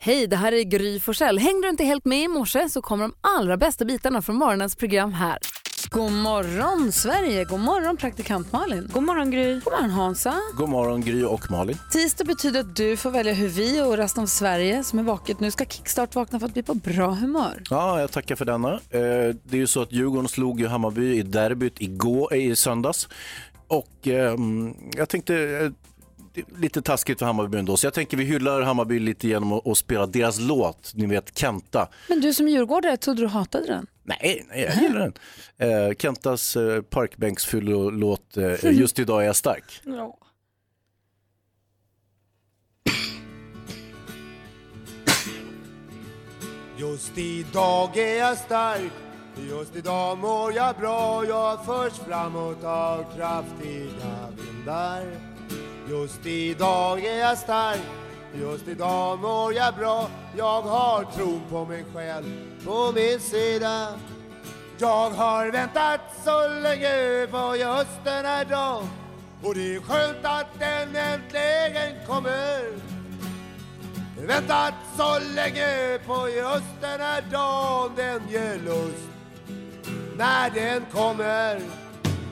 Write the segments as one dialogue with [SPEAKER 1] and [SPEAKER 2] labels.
[SPEAKER 1] Hej, det här är Gry Forssell. Hängde du inte helt med i morse så kommer de allra bästa bitarna från morgonens program här. God morgon Sverige, god morgon praktikant Malin.
[SPEAKER 2] God morgon Gry.
[SPEAKER 1] God morgon Hansa.
[SPEAKER 3] God morgon Gry och Malin.
[SPEAKER 1] Tisdag betyder att du får välja hur vi och resten av Sverige som är vaket nu ska kickstart vakna för att bli på bra humör.
[SPEAKER 3] Ja, jag tackar för denna. Eh, Det är ju så att Djurgården slog ju Hammarby i derbyt igår, eh, i söndags. Och eh, mm, jag tänkte, eh, det är lite taskigt för Hammarby ändå, så jag tänker vi hyllar Hammarby lite genom att, att spela deras låt, ni vet Kenta.
[SPEAKER 1] Men du som är djurgårdare, trodde du hatade den?
[SPEAKER 3] Nej, nej jag gillar den. Eh, Kentas eh, parkbänksfyllolåt eh, Just idag är jag stark.
[SPEAKER 4] Just idag är jag stark Just idag mår jag bra Jag förs framåt av kraftiga vindar Just idag är jag stark Just idag mår jag bra Jag har tron på mig själv på min sida Jag har väntat så länge på just den här dagen Och det är skönt att den äntligen kommer Väntat så länge på just den här dagen Den ger lust när den kommer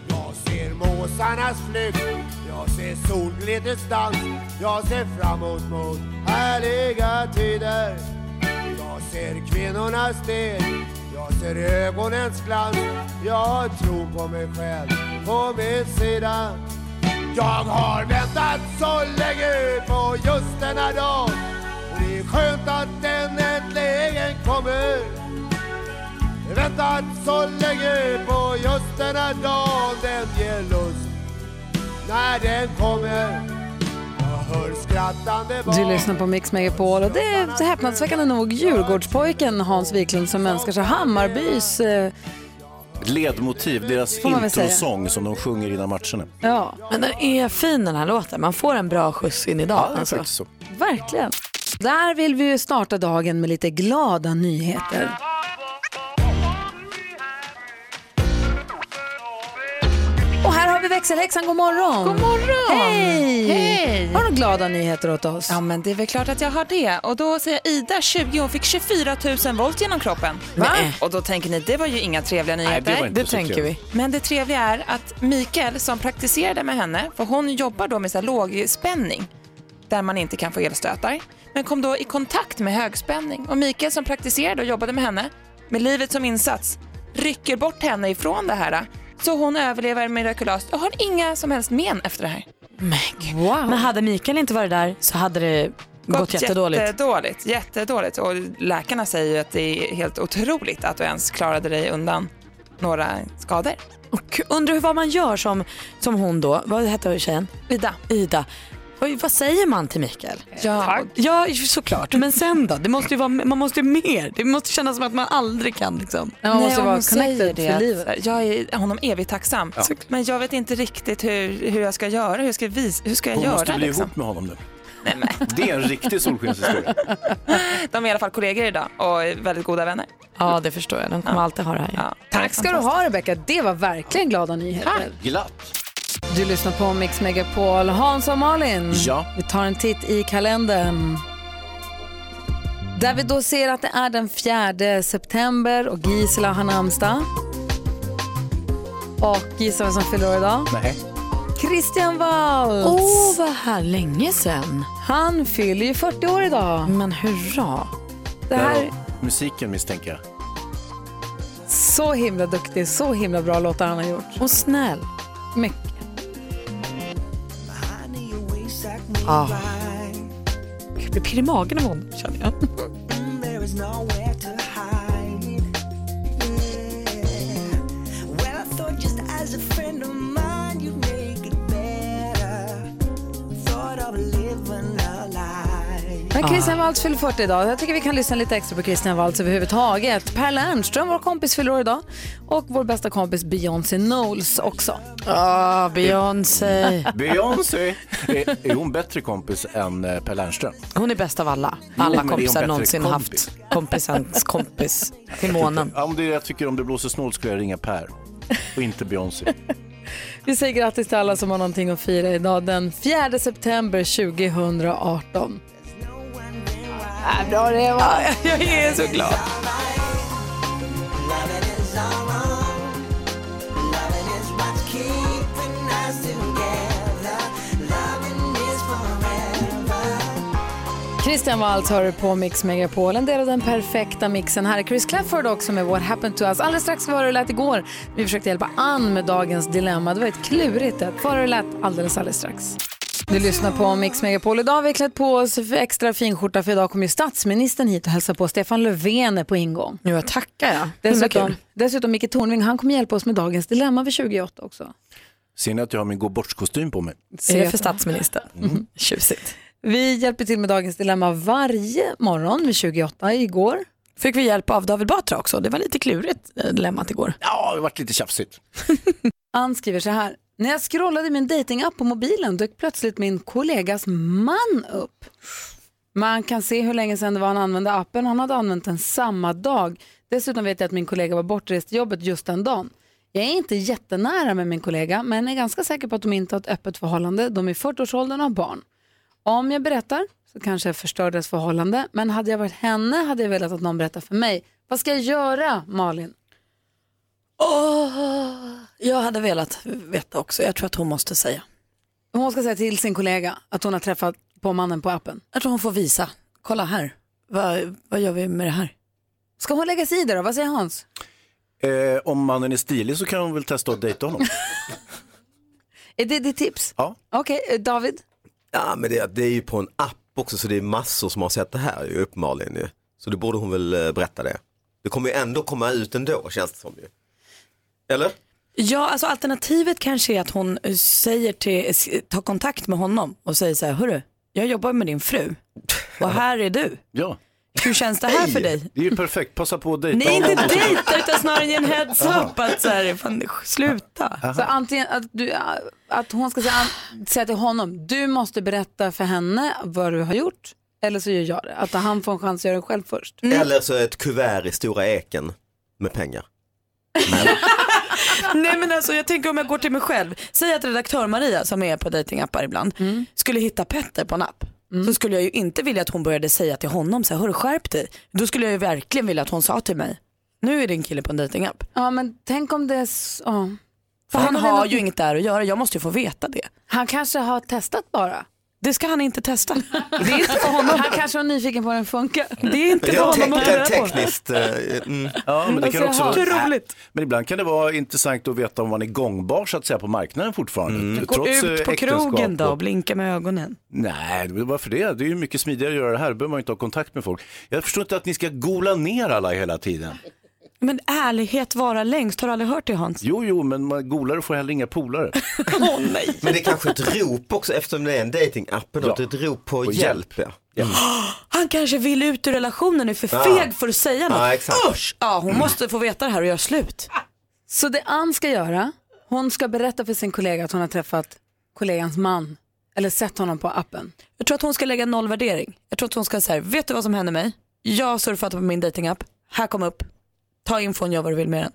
[SPEAKER 4] Jag ser måsarnas flykt Jag ser solglitters dans Jag ser framåt mot härliga tider Jag ser kvinnornas steg Jag ser ögonens glans Jag har tro på mig själv på min sida jag har väntat så länge på just denna dag Och det är skönt att den äntligen kommer Väntat så länge på just denna dag Den ger lust när den kommer Jag hör skrattande barn
[SPEAKER 1] Du lyssnar på Mix Megapol och det är häpnadsväckande nog Djurgårdspojken Hans Wiklund som önskar sig Hammarbys, eh,
[SPEAKER 3] Ledmotiv, deras
[SPEAKER 1] man väl säga.
[SPEAKER 3] introsång som de sjunger innan matcherna.
[SPEAKER 1] ja,
[SPEAKER 2] Men den är fin den här låten. Man får en bra skjuts in idag.
[SPEAKER 3] det är
[SPEAKER 2] alltså.
[SPEAKER 3] faktiskt så.
[SPEAKER 1] verkligen. Där vill vi ju starta dagen med lite glada nyheter. Och här har vi växelhäxan, god morgon! God morgon! Hej!
[SPEAKER 5] Hej!
[SPEAKER 1] Har du glada nyheter åt oss?
[SPEAKER 5] Ja, men det är väl klart att jag har det. Och då säger Ida, 20, hon fick 24 000 volt genom kroppen.
[SPEAKER 2] Va?
[SPEAKER 5] Och då tänker ni, det var ju inga trevliga nyheter.
[SPEAKER 3] det var inte
[SPEAKER 2] Det
[SPEAKER 3] så
[SPEAKER 2] tänker
[SPEAKER 3] trevligt.
[SPEAKER 2] vi.
[SPEAKER 5] Men det trevliga är att Mikael som praktiserade med henne, för hon jobbar då med så här lågspänning där man inte kan få elstötar, men kom då i kontakt med högspänning. Och Mikael som praktiserade och jobbade med henne, med livet som insats, rycker bort henne ifrån det här. Så hon överlever mirakulöst och har inga som helst men efter det här.
[SPEAKER 2] Men, gud. men hade Mikael inte varit där så hade det gått, jättedåligt.
[SPEAKER 5] Jättedåligt, jättedåligt. Och läkarna säger ju att det är helt otroligt att du ens klarade dig undan några skador.
[SPEAKER 2] Och undrar hur- vad man gör som, som hon då, vad hette tjejen?
[SPEAKER 5] Ida.
[SPEAKER 2] Ida. Oj, vad säger man till Mikael?
[SPEAKER 5] Ja,
[SPEAKER 2] Ja, ju- såklart. Men sen då? Det måste ju vara, man måste ju mer. Det måste kännas som att man aldrig kan liksom.
[SPEAKER 1] Nej, man måste
[SPEAKER 5] Nej,
[SPEAKER 1] vara
[SPEAKER 5] hon säger
[SPEAKER 1] connected
[SPEAKER 5] det.
[SPEAKER 1] för livet.
[SPEAKER 5] Jag är honom evigt tacksam. Men jag vet inte riktigt hur, hur jag ska göra. Hur ska, jag visa, hur ska jag
[SPEAKER 3] Hon
[SPEAKER 5] göra?
[SPEAKER 3] måste bli
[SPEAKER 5] liksom?
[SPEAKER 3] ihop med honom nu. Det är en riktig solskenshistoria.
[SPEAKER 5] De är i alla fall kollegor idag och är väldigt goda vänner.
[SPEAKER 2] Ja, det förstår jag. De kommer alltid ha det här.
[SPEAKER 5] Ja.
[SPEAKER 1] Tack ska du ha Rebecka, det var verkligen glada nyheter.
[SPEAKER 3] Glatt.
[SPEAKER 1] Du lyssnar på Mix Megapol. Hans och Malin,
[SPEAKER 3] Ja.
[SPEAKER 1] vi tar en titt i kalendern. Där vi då ser att det är den 4 september och Gisela har namnsdag. Och gissa vem som fyller år idag?
[SPEAKER 3] Nej.
[SPEAKER 1] Christian Waltz!
[SPEAKER 2] Åh, vad här länge sen.
[SPEAKER 1] Han fyller ju 40 år idag.
[SPEAKER 2] Men hurra.
[SPEAKER 1] Det här,
[SPEAKER 3] Musiken misstänker jag.
[SPEAKER 1] så himla duktig, så himla bra låtar han har gjort.
[SPEAKER 2] Och snäll.
[SPEAKER 1] Mycket.
[SPEAKER 2] Ja. Jag blir pirr i magen av honom, känner jag.
[SPEAKER 6] Mm,
[SPEAKER 1] Men Christian Waltz fyller 40 idag. Jag tycker vi kan lyssna lite extra på Christian Waltz överhuvudtaget. Per Lernström, vår kompis, fyller år idag. Och vår bästa kompis Beyoncé Knowles också.
[SPEAKER 2] Ah, Beyoncé.
[SPEAKER 3] Beyoncé! är, är hon bättre kompis än eh, Per Lernström?
[SPEAKER 2] Hon är bäst av alla. Alla
[SPEAKER 3] men det är en
[SPEAKER 2] kompisar
[SPEAKER 3] bättre
[SPEAKER 2] någonsin
[SPEAKER 3] kompis.
[SPEAKER 2] haft kompisens kompis till månen.
[SPEAKER 3] Ja, om det är det jag tycker om det blåser snålt skulle jag ringa Per och inte Beyoncé.
[SPEAKER 1] Vi säger grattis till alla som har någonting att fira idag den 4 september 2018. Vad Ah, bra det var.
[SPEAKER 5] Jag är så glad.
[SPEAKER 1] Christian Waltz hör du på Mix Megapol, en del av den perfekta mixen. Här är Chris Clafford också med What Happened To Us. Alldeles strax var det lät igår. Vi försökte hjälpa Ann med dagens dilemma. Det var ett klurigt ett. Var det lät alldeles, alldeles strax. Du lyssnar på Mix Megapol. Idag har vi klätt på oss för extra finskjorta för idag kommer ju statsministern hit och hälsa på. Stefan Löfven är på ingång.
[SPEAKER 2] Nu jag tackar jag.
[SPEAKER 1] Dessutom, dessutom Micke Tornving, han kommer hjälpa oss med dagens dilemma vid 28 också.
[SPEAKER 3] Ser ni att jag har min gå bort-kostym på mig? Mm.
[SPEAKER 2] Är det för statsministern? Mm. Tjusigt.
[SPEAKER 1] Vi hjälper till med dagens dilemma varje morgon vid 28 igår.
[SPEAKER 2] Fick vi hjälp av David Batra också? Det var lite klurigt eh, dilemmat igår.
[SPEAKER 3] Ja, det har varit lite tjafsigt.
[SPEAKER 1] Ann skriver så här. När jag scrollade i min datingapp på mobilen dök plötsligt min kollegas man upp. Man kan se hur länge sedan det var han använde appen. Han hade använt den samma dag. Dessutom vet jag att min kollega var bortrest till jobbet just den dagen. Jag är inte jättenära med min kollega men är ganska säker på att de inte har ett öppet förhållande. De är i 40-årsåldern och har barn. Om jag berättar så kanske jag förstör deras förhållande. Men hade jag varit henne hade jag velat att någon berättar för mig. Vad ska jag göra Malin?
[SPEAKER 2] Åh, jag hade velat veta också. Jag tror att hon måste säga.
[SPEAKER 1] Om Hon ska säga till sin kollega att hon har träffat på mannen på appen.
[SPEAKER 2] Jag tror hon får visa. Kolla här. Vad, vad gör vi med det här?
[SPEAKER 1] Ska hon lägga sig i det då? Vad säger Hans?
[SPEAKER 3] Eh, om mannen är stilig så kan hon väl testa att dejta honom.
[SPEAKER 1] Är det ditt tips?
[SPEAKER 3] Ja.
[SPEAKER 1] Okej, eh, David?
[SPEAKER 7] Ja men det, det är ju på en app också så det är massor som har sett det här ju uppenbarligen ju. Så då borde hon väl eh, berätta det. Det kommer ju ändå komma ut ändå känns det som ju. Eller?
[SPEAKER 2] Ja, alltså alternativet kanske är att hon eh, säger till, s- tar kontakt med honom och säger så här, hörru, jag jobbar med din fru och här är du.
[SPEAKER 3] Ja.
[SPEAKER 2] Hur känns det här för dig?
[SPEAKER 3] Det är ju perfekt, passa på att dejta
[SPEAKER 2] Nej, inte
[SPEAKER 3] honom.
[SPEAKER 2] dejta utan snarare ge en heads up att så här, fan, sluta.
[SPEAKER 1] Så antingen att, du, att hon ska säga, säga till honom, du måste berätta för henne vad du har gjort. Eller så gör jag det. Att han får en chans att göra det själv först.
[SPEAKER 3] Mm.
[SPEAKER 7] Eller så ett kuvert i stora eken med pengar.
[SPEAKER 2] Nej men alltså jag tänker om jag går till mig själv. Säg att redaktör Maria som är på datingappar ibland skulle hitta Petter på en app. Så skulle jag ju inte vilja att hon började säga till honom så här, hörru skärp dig. Då skulle jag ju verkligen vilja att hon sa till mig, nu är det en kille på en datingapp.
[SPEAKER 1] Ja, men tänk om det är så, ja.
[SPEAKER 2] För han
[SPEAKER 1] men
[SPEAKER 2] har
[SPEAKER 1] Lennart-
[SPEAKER 2] ju inget där att göra, jag måste ju få veta det.
[SPEAKER 1] Han kanske har testat bara.
[SPEAKER 2] Det ska han inte testa.
[SPEAKER 1] Det är inte för honom. Han kanske var nyfiken på hur den funkar.
[SPEAKER 2] Det är inte för
[SPEAKER 7] Jag
[SPEAKER 2] honom att ta
[SPEAKER 7] tänkte
[SPEAKER 2] reda på.
[SPEAKER 7] tekniskt. eh, mm.
[SPEAKER 3] Ja, men det kan också vara...
[SPEAKER 2] Hur roligt.
[SPEAKER 3] Äh, Men ibland kan det vara intressant att veta om man är gångbar så att säga på marknaden fortfarande.
[SPEAKER 2] Gå
[SPEAKER 3] eh,
[SPEAKER 2] ut på
[SPEAKER 3] äktenskap
[SPEAKER 2] krogen då
[SPEAKER 3] och-
[SPEAKER 2] och blinka med ögonen.
[SPEAKER 3] Nej, varför det? Det är ju mycket smidigare att göra det här. Då behöver man ju inte ha kontakt med folk. Jag förstår inte att ni ska gola ner alla hela tiden.
[SPEAKER 2] Men ärlighet vara längst, har du aldrig hört det Hans?
[SPEAKER 3] Jo, jo, men man golare får heller inga polare.
[SPEAKER 2] Åh nej.
[SPEAKER 7] Men det är kanske ett rop också eftersom det är en datingapp ändå.
[SPEAKER 3] Ja.
[SPEAKER 7] Det är ett rop på
[SPEAKER 3] På
[SPEAKER 7] hjälp.
[SPEAKER 3] hjälp. Mm.
[SPEAKER 7] Ja. Ja.
[SPEAKER 2] Han kanske vill ut ur relationen, är för
[SPEAKER 7] Ja.
[SPEAKER 2] feg för att säga något.
[SPEAKER 7] Ja, exakt. Mm.
[SPEAKER 2] Usch! Ja, hon måste få veta det här och göra slut.
[SPEAKER 1] Så det Ann ska göra, hon ska berätta för sin kollega att hon har träffat kollegans man. Eller sett honom på appen.
[SPEAKER 2] Jag tror att hon ska lägga noll värdering. Jag tror att hon ska säga, vet du vad som hände mig? Jag surfade på min datingapp. här kom upp, ta infon, gör vad du vill med den.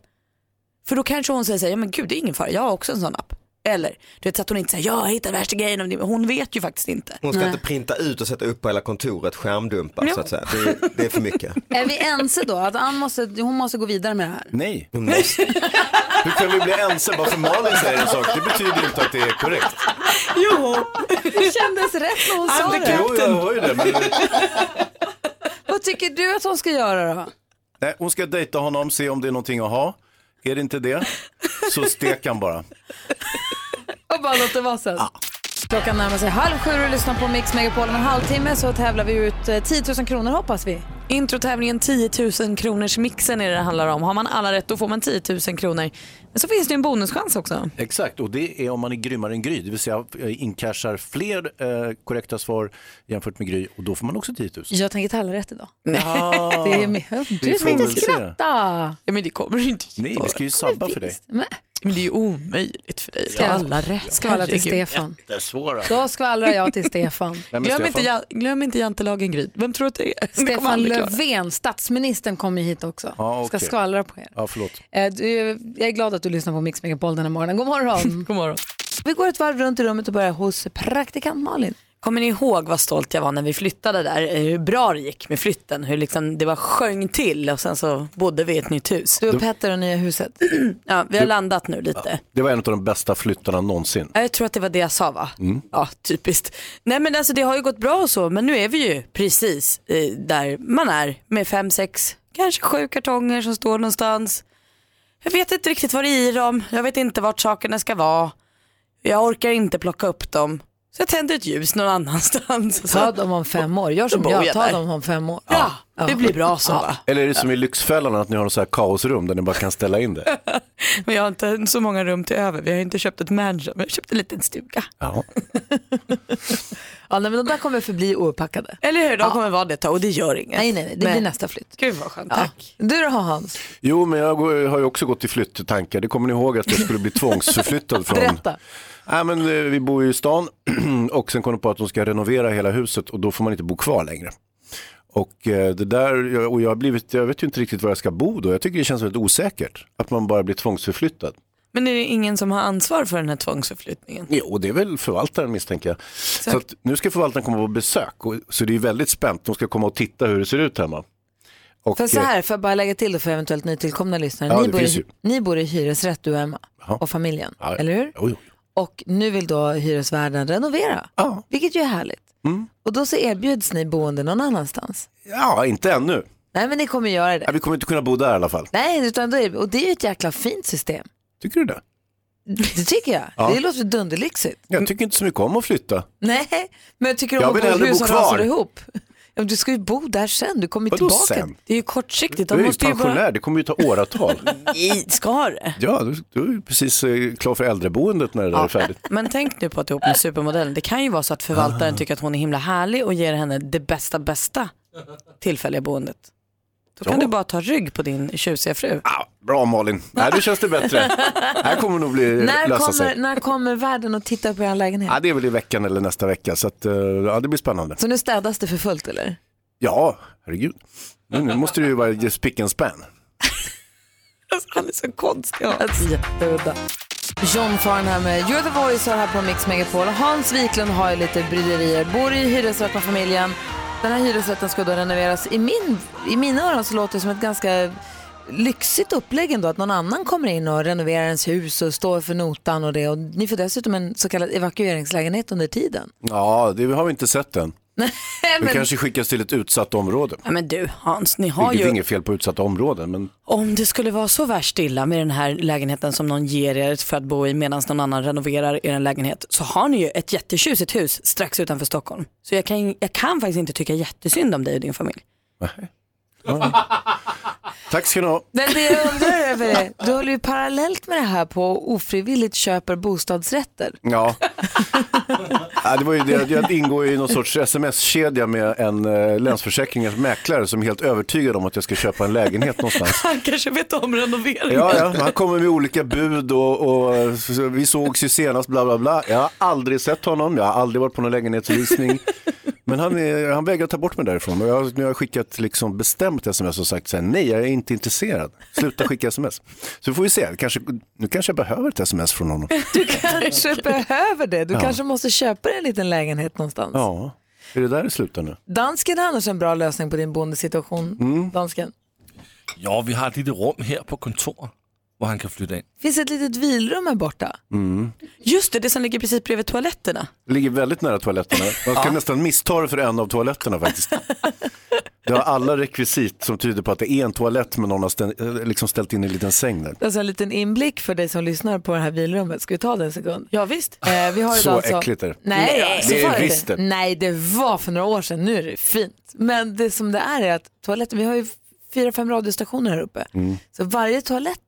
[SPEAKER 2] För då kanske hon säger så här, ja men gud det är ingen fara, jag har också en sån app. Eller, du vet så att hon inte säger, jag har hittat värsta grejen om det. Hon vet ju faktiskt inte.
[SPEAKER 7] Hon ska inte printa ut och sätta upp på hela kontoret, skärmdumpa
[SPEAKER 2] Ja.
[SPEAKER 7] så att säga. Det, det är för mycket.
[SPEAKER 1] Är vi ense då att Ann måste, hon måste gå vidare med det här?
[SPEAKER 3] Nej,
[SPEAKER 7] Hon måste-
[SPEAKER 3] hur kan vi bli ense bara för Malin säger en sak? Det betyder inte att det är korrekt.
[SPEAKER 2] Jo,
[SPEAKER 1] Det kändes rätt när hon sa det.
[SPEAKER 3] Jo, jag hör ju det. Men...
[SPEAKER 1] Vad tycker du att hon ska göra då?
[SPEAKER 3] Nej, hon ska dejta honom, se om det är någonting att ha. Är det inte det, så stek han bara.
[SPEAKER 1] Och bara låta det vara sen. Klockan närmar sig halv sju och lyssnar på Mix Megapol. Om en halvtimme så tävlar vi ut eh, 10 000 kronor hoppas vi.
[SPEAKER 2] Introtävlingen 10 000 kronors mixen är det det handlar om. Har man alla rätt då får man 10 000 kronor. Men så finns det ju en bonuschans också.
[SPEAKER 3] Exakt, och det är om man är grymmare än Gry, det vill säga eh, inkassar fler eh, korrekta svar jämfört med Gry och då får man också 10 000.
[SPEAKER 1] Jag tänker tala rätt idag.
[SPEAKER 3] Ah,
[SPEAKER 1] Det är min... Du
[SPEAKER 3] får
[SPEAKER 1] ska inte
[SPEAKER 3] väl se.
[SPEAKER 1] skratta.
[SPEAKER 2] Ja, men det kommer du inte
[SPEAKER 3] nej, vi ska ju sabba för dig.
[SPEAKER 1] Men,
[SPEAKER 2] Men det är ju omöjligt för dig.
[SPEAKER 1] Ska jag-
[SPEAKER 2] rätt.
[SPEAKER 1] skvallra till
[SPEAKER 2] Herregud.
[SPEAKER 1] Stefan.
[SPEAKER 3] Det är svåra.
[SPEAKER 1] Då skvallrar jag till Stefan.
[SPEAKER 3] Vem är
[SPEAKER 2] Glöm
[SPEAKER 3] Stefan?
[SPEAKER 2] inte, ja, glöm inte jantelagen Gry. Vem tror att det är? Det kommer
[SPEAKER 1] Stefan
[SPEAKER 2] aldrig klara.
[SPEAKER 1] Löfven, statsministern, kommer hit också.
[SPEAKER 3] Ja, okej.
[SPEAKER 1] Ska skvallra på er.
[SPEAKER 3] Ja, förlåt.
[SPEAKER 1] Eh, du, jag är glad att du lyssnar på Mix Megapol den här morgonen. God morgon!
[SPEAKER 2] God morgon.
[SPEAKER 1] Vi går ett varv runt i rummet och börjar hos praktikant Malin.
[SPEAKER 2] Kommer ni ihåg vad stolt jag var när vi flyttade där? Eh, Hur bra det gick med flytten, hur liksom det var sjöng till och sen så bodde vi i ett nytt hus.
[SPEAKER 5] Du och Petter och nya huset.
[SPEAKER 2] Ja, vi har landat nu lite.
[SPEAKER 3] Det var en av de bästa flyttarna någonsin. Mm.
[SPEAKER 2] Ja, Jag tror att det var det jag sa va? Ja, typiskt. Nej men alltså det har ju gått bra och så men nu är vi ju precis eh, där man är med fem, sex, kanske sju kartonger som står någonstans. Jag vet inte riktigt vad det är i dem, jag vet inte vart sakerna ska vara. Jag orkar inte plocka upp dem. Så jag tänder ett ljus någon annanstans. och Så,
[SPEAKER 1] Ta dem om fem år. Gör som
[SPEAKER 2] bor
[SPEAKER 1] jag,
[SPEAKER 2] jag
[SPEAKER 1] ta
[SPEAKER 2] där.
[SPEAKER 1] dem om fem år.
[SPEAKER 2] ja, det blir bra så va?
[SPEAKER 3] Eller är det som i Lyxfällan att ni har en så här kaosrum där ni bara kan ställa in det?
[SPEAKER 2] Men jag har inte så många rum till över, vi har inte köpt ett mansion, vi har köpt en liten stuga.
[SPEAKER 3] Ja.
[SPEAKER 1] Ja, nej, men de där kommer förbli ouppackade.
[SPEAKER 2] Eller hur, de kommer vara det ett tag och det gör inget.
[SPEAKER 1] Nej, nej, nej. Det
[SPEAKER 2] Men-
[SPEAKER 1] blir nästa flytt.
[SPEAKER 2] Gud vad skönt,
[SPEAKER 1] Ja.
[SPEAKER 2] tack.
[SPEAKER 1] Du då Hans,
[SPEAKER 3] Jo, men jag går- har ju också gått i flytttankar. Det kommer ni ihåg att jag skulle bli tvångsförflyttad från.
[SPEAKER 1] berätta.
[SPEAKER 3] Nej, men, eh, vi bor ju i stan och sen kom de på att de ska renovera hela huset och då får man inte bo kvar längre. Och, eh, det där, jag- och jag, har blivit, jag vet ju inte riktigt var jag ska bo då. Jag tycker det känns väldigt osäkert att man bara blir tvångsförflyttad.
[SPEAKER 2] Men är det ingen som har ansvar för den här tvångsförflyttningen?
[SPEAKER 3] Jo, och det är väl förvaltaren misstänker jag. Så att, nu ska förvaltaren komma på besök, och, så det är väldigt spänt. De ska komma och titta hur det ser ut hemma. Och,
[SPEAKER 1] För så
[SPEAKER 3] eh,
[SPEAKER 1] här, för att bara lägga till det för eventuellt nytillkomna lyssnare.
[SPEAKER 3] Ja,
[SPEAKER 1] ni,
[SPEAKER 3] det
[SPEAKER 1] bor
[SPEAKER 3] finns
[SPEAKER 1] i,
[SPEAKER 3] ju.
[SPEAKER 1] ni bor i hyresrätt du och Emma
[SPEAKER 3] Jaha.
[SPEAKER 1] och familjen,
[SPEAKER 3] Ja, ja.
[SPEAKER 1] eller hur?
[SPEAKER 3] Jo, jo.
[SPEAKER 1] Och nu vill då hyresvärden renovera,
[SPEAKER 3] Ja. Mm.
[SPEAKER 1] vilket ju är härligt. Och då så erbjuds ni boende någon annanstans.
[SPEAKER 3] ja, inte ännu.
[SPEAKER 1] Nej men ni kommer göra
[SPEAKER 3] Nej,
[SPEAKER 1] det.
[SPEAKER 3] vi kommer inte kunna bo där i alla fall.
[SPEAKER 1] Nej, utan då är, och det är ju ett jäkla fint system.
[SPEAKER 3] Tycker du det?
[SPEAKER 1] Det tycker jag.
[SPEAKER 3] Ja.
[SPEAKER 1] Det låter dunderlyxigt.
[SPEAKER 3] Jag tycker inte så mycket om att flytta.
[SPEAKER 1] Nej, men jag tycker om
[SPEAKER 3] Jag
[SPEAKER 1] att
[SPEAKER 3] vill
[SPEAKER 1] bo i ett
[SPEAKER 3] hellre
[SPEAKER 1] hus
[SPEAKER 3] bo
[SPEAKER 1] som
[SPEAKER 3] kvar.
[SPEAKER 1] rasar ihop. Ja, men du ska ju bo där sen, du kommer ju
[SPEAKER 3] Vadå
[SPEAKER 1] tillbaka.
[SPEAKER 3] sen?
[SPEAKER 2] Det är ju kortsiktigt.
[SPEAKER 3] Du
[SPEAKER 2] De
[SPEAKER 3] är ju
[SPEAKER 2] måste ju bara...
[SPEAKER 3] pensionär, det kommer ju ta åratal.
[SPEAKER 2] I, ska det?
[SPEAKER 3] Ja, du, du är precis eh, klar för äldreboendet när det där är färdigt. Ah.
[SPEAKER 2] Men tänk nu på att du är ihop med supermodellen. Det kan ju vara så att förvaltaren tycker att hon är himla härlig och ger henne det bästa, bästa tillfälliga boendet. Då kan
[SPEAKER 3] Ja.
[SPEAKER 2] du bara ta rygg på din tjusiga fru.
[SPEAKER 3] Ah, bra Malin, Nej, nu känns det bättre. Här kommer det nog bli, eh,
[SPEAKER 1] När
[SPEAKER 3] lösa
[SPEAKER 1] kommer,
[SPEAKER 3] sig.
[SPEAKER 1] när kommer värden och titta på er lägenhet?
[SPEAKER 3] Ja, det är väl i veckan eller nästa vecka, så att, eh, ja, det blir spännande.
[SPEAKER 1] Så nu städas det för fullt eller?
[SPEAKER 3] Ja, herregud. Nu, nu måste det ju vara just pick and span.
[SPEAKER 2] Alltså, han är så konstig.
[SPEAKER 1] Alltså, jätteudda. John Farn här med You're the Voice har här på Mix Megapol. Hans Wiklund har ju lite bryderier, bor i hyresrätt med familjen. Den här hyresrätten ska då renoveras. I, min, I mina öron så låter det som ett ganska lyxigt upplägg ändå att någon annan kommer in och renoverar ens hus och står för notan och det. Och ni får dessutom en så kallad evakueringslägenhet under tiden.
[SPEAKER 3] Ja, det har vi inte sett än.
[SPEAKER 1] Nej,
[SPEAKER 3] Vi
[SPEAKER 1] men,
[SPEAKER 3] kanske skickas till ett utsatt område.
[SPEAKER 2] Ja, men du Hans, ni har
[SPEAKER 3] Vilket är
[SPEAKER 2] ju...
[SPEAKER 3] inget fel på utsatta områden, men
[SPEAKER 2] Om det skulle vara så värst illa med den här lägenheten som någon ger er för att bo i medan någon annan renoverar er en lägenhet så har ni ju ett jättetjusigt hus strax utanför Stockholm. Så jag kan, jag kan faktiskt inte tycka jättesynd om dig och din familj.
[SPEAKER 3] tack ska ni ha.
[SPEAKER 1] men det jag undrar över är, du håller ju parallellt med det här på och ofrivilligt köper bostadsrätter.
[SPEAKER 3] Ja. ja det var ju det. Jag ingår i någon sorts sms-kedja med en eh, Länsförsäkringars mäklare som är helt övertygad om att jag ska köpa en lägenhet någonstans.
[SPEAKER 2] Han kanske vet om renoveringen.
[SPEAKER 3] Ja, ja, han kommer med olika bud och, och så- vi sågs ju senast, bla bla bla. Jag har aldrig sett honom, jag har aldrig varit på någon lägenhetsvisning. Men han, är, han vägrar ta bort mig därifrån och jag, har- nu har jag skickat liksom bestämt sms och sagt så här, nej jag är inte intresserad, sluta skicka sms. Så får vi se, kanske, nu kanske jag behöver ett sms från honom.
[SPEAKER 1] Du kanske behöver det. Du kanske måste köpa dig en liten lägenhet någonstans.
[SPEAKER 3] Ja, är det där det slutar nu?
[SPEAKER 1] Dansken har annars en bra lösning på din boendesituation.
[SPEAKER 3] Mm.
[SPEAKER 1] Dansken.
[SPEAKER 8] Ja, vi har et lille rum her på kontoret, hvor han kan flytte ind.
[SPEAKER 1] finns ett litet vilrum här borta.
[SPEAKER 3] Mm.
[SPEAKER 2] Just det, det som ligger precis bredvid toaletterna.
[SPEAKER 3] Ligger väldigt nära toaletterna. Man kan nästan missta det för en av toaletterna faktiskt. Det har alla rekvisit som tyder på att det är en toalett men någon har ställ, eh, liksom ställt in en liten säng där.
[SPEAKER 1] Alltså en liten inblick för dig som lyssnar på det här vilrummet. Ska vi ta det en sekund?
[SPEAKER 2] Ja visst.
[SPEAKER 1] Eh, vi har
[SPEAKER 3] Så
[SPEAKER 1] idag alltså...
[SPEAKER 3] äckligt är det.
[SPEAKER 1] Nej,
[SPEAKER 3] Nej,
[SPEAKER 1] så
[SPEAKER 3] det är
[SPEAKER 1] var
[SPEAKER 3] visst
[SPEAKER 1] inte.
[SPEAKER 3] det.
[SPEAKER 1] Nej, det var för några år sedan. Nu är det fint. Men det som det är är att toaletten, vi har ju fyra, fem radiostationer här uppe. Så varje toalett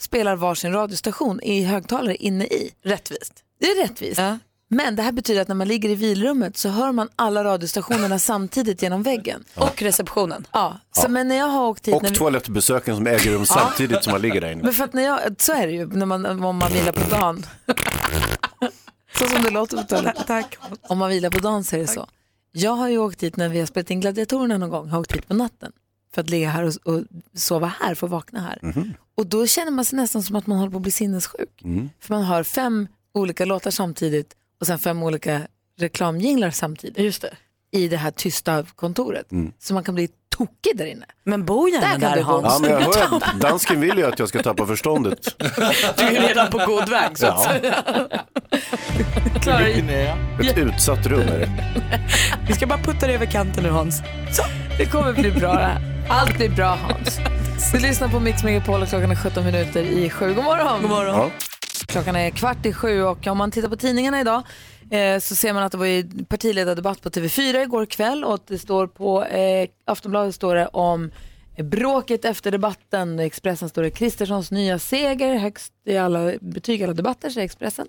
[SPEAKER 1] spelar varsin radiostation i högtalare inne i.
[SPEAKER 2] Rättvist.
[SPEAKER 1] Det är rättvist.
[SPEAKER 2] Ja.
[SPEAKER 1] Men det här betyder att när man ligger i vilrummet så hör man alla radiostationerna samtidigt genom väggen.
[SPEAKER 2] Och receptionen.
[SPEAKER 1] Ja, så men när jag har åkt hit... när
[SPEAKER 3] Och
[SPEAKER 1] vi-
[SPEAKER 3] toalettbesöken som äger rum samtidigt som man ligger där inne.
[SPEAKER 1] Men för att när jag, så är det ju när man, om man vilar på dagen. så som det låter på toaletten.
[SPEAKER 2] Tack.
[SPEAKER 1] Om man vilar på dagen så är det så. Jag har ju åkt hit när vi har spelat in Gladiatorerna någon gång, har åkt hit på natten för att ligga här och, och sova här, för att vakna här.
[SPEAKER 6] Mhm.
[SPEAKER 1] Och då känner man sig nästan som att man håller på att bli sinnessjuk. För man hör fem olika låtar samtidigt och sen fem olika reklamjinglar samtidigt
[SPEAKER 9] Just det.
[SPEAKER 1] i det här tysta kontoret.
[SPEAKER 3] Mm.
[SPEAKER 1] Så man kan bli tokig där inne.
[SPEAKER 2] Men bo gärna
[SPEAKER 1] Där
[SPEAKER 2] där,
[SPEAKER 1] kan du bo.
[SPEAKER 2] Hans.
[SPEAKER 3] Ja, men jag hör att dansken vill ju att jag ska tappa förståndet.
[SPEAKER 2] Du är redan på god väg. Så att
[SPEAKER 3] Ja.
[SPEAKER 2] säga. Klarar dig.
[SPEAKER 3] Ett utsatt rum är det.
[SPEAKER 2] Vi ska bara putta dig över kanten nu Hans.
[SPEAKER 1] Det kommer bli bra det här. Allt blir bra Hans. Du lyssnar på Mix Megapol och klockan är 17 minuter i sju. God morgon.
[SPEAKER 2] God morgon.
[SPEAKER 3] Ja.
[SPEAKER 1] Klockan är kvart i sju och om man tittar på tidningarna idag eh, så ser man att det var ju partiledardebatt på TV4 igår kväll och att det står på eh, Aftonbladet står det om bråket efter debatten. I Expressen står det Kristerssons nya seger, högst i alla betyg, i alla debatter säger Expressen.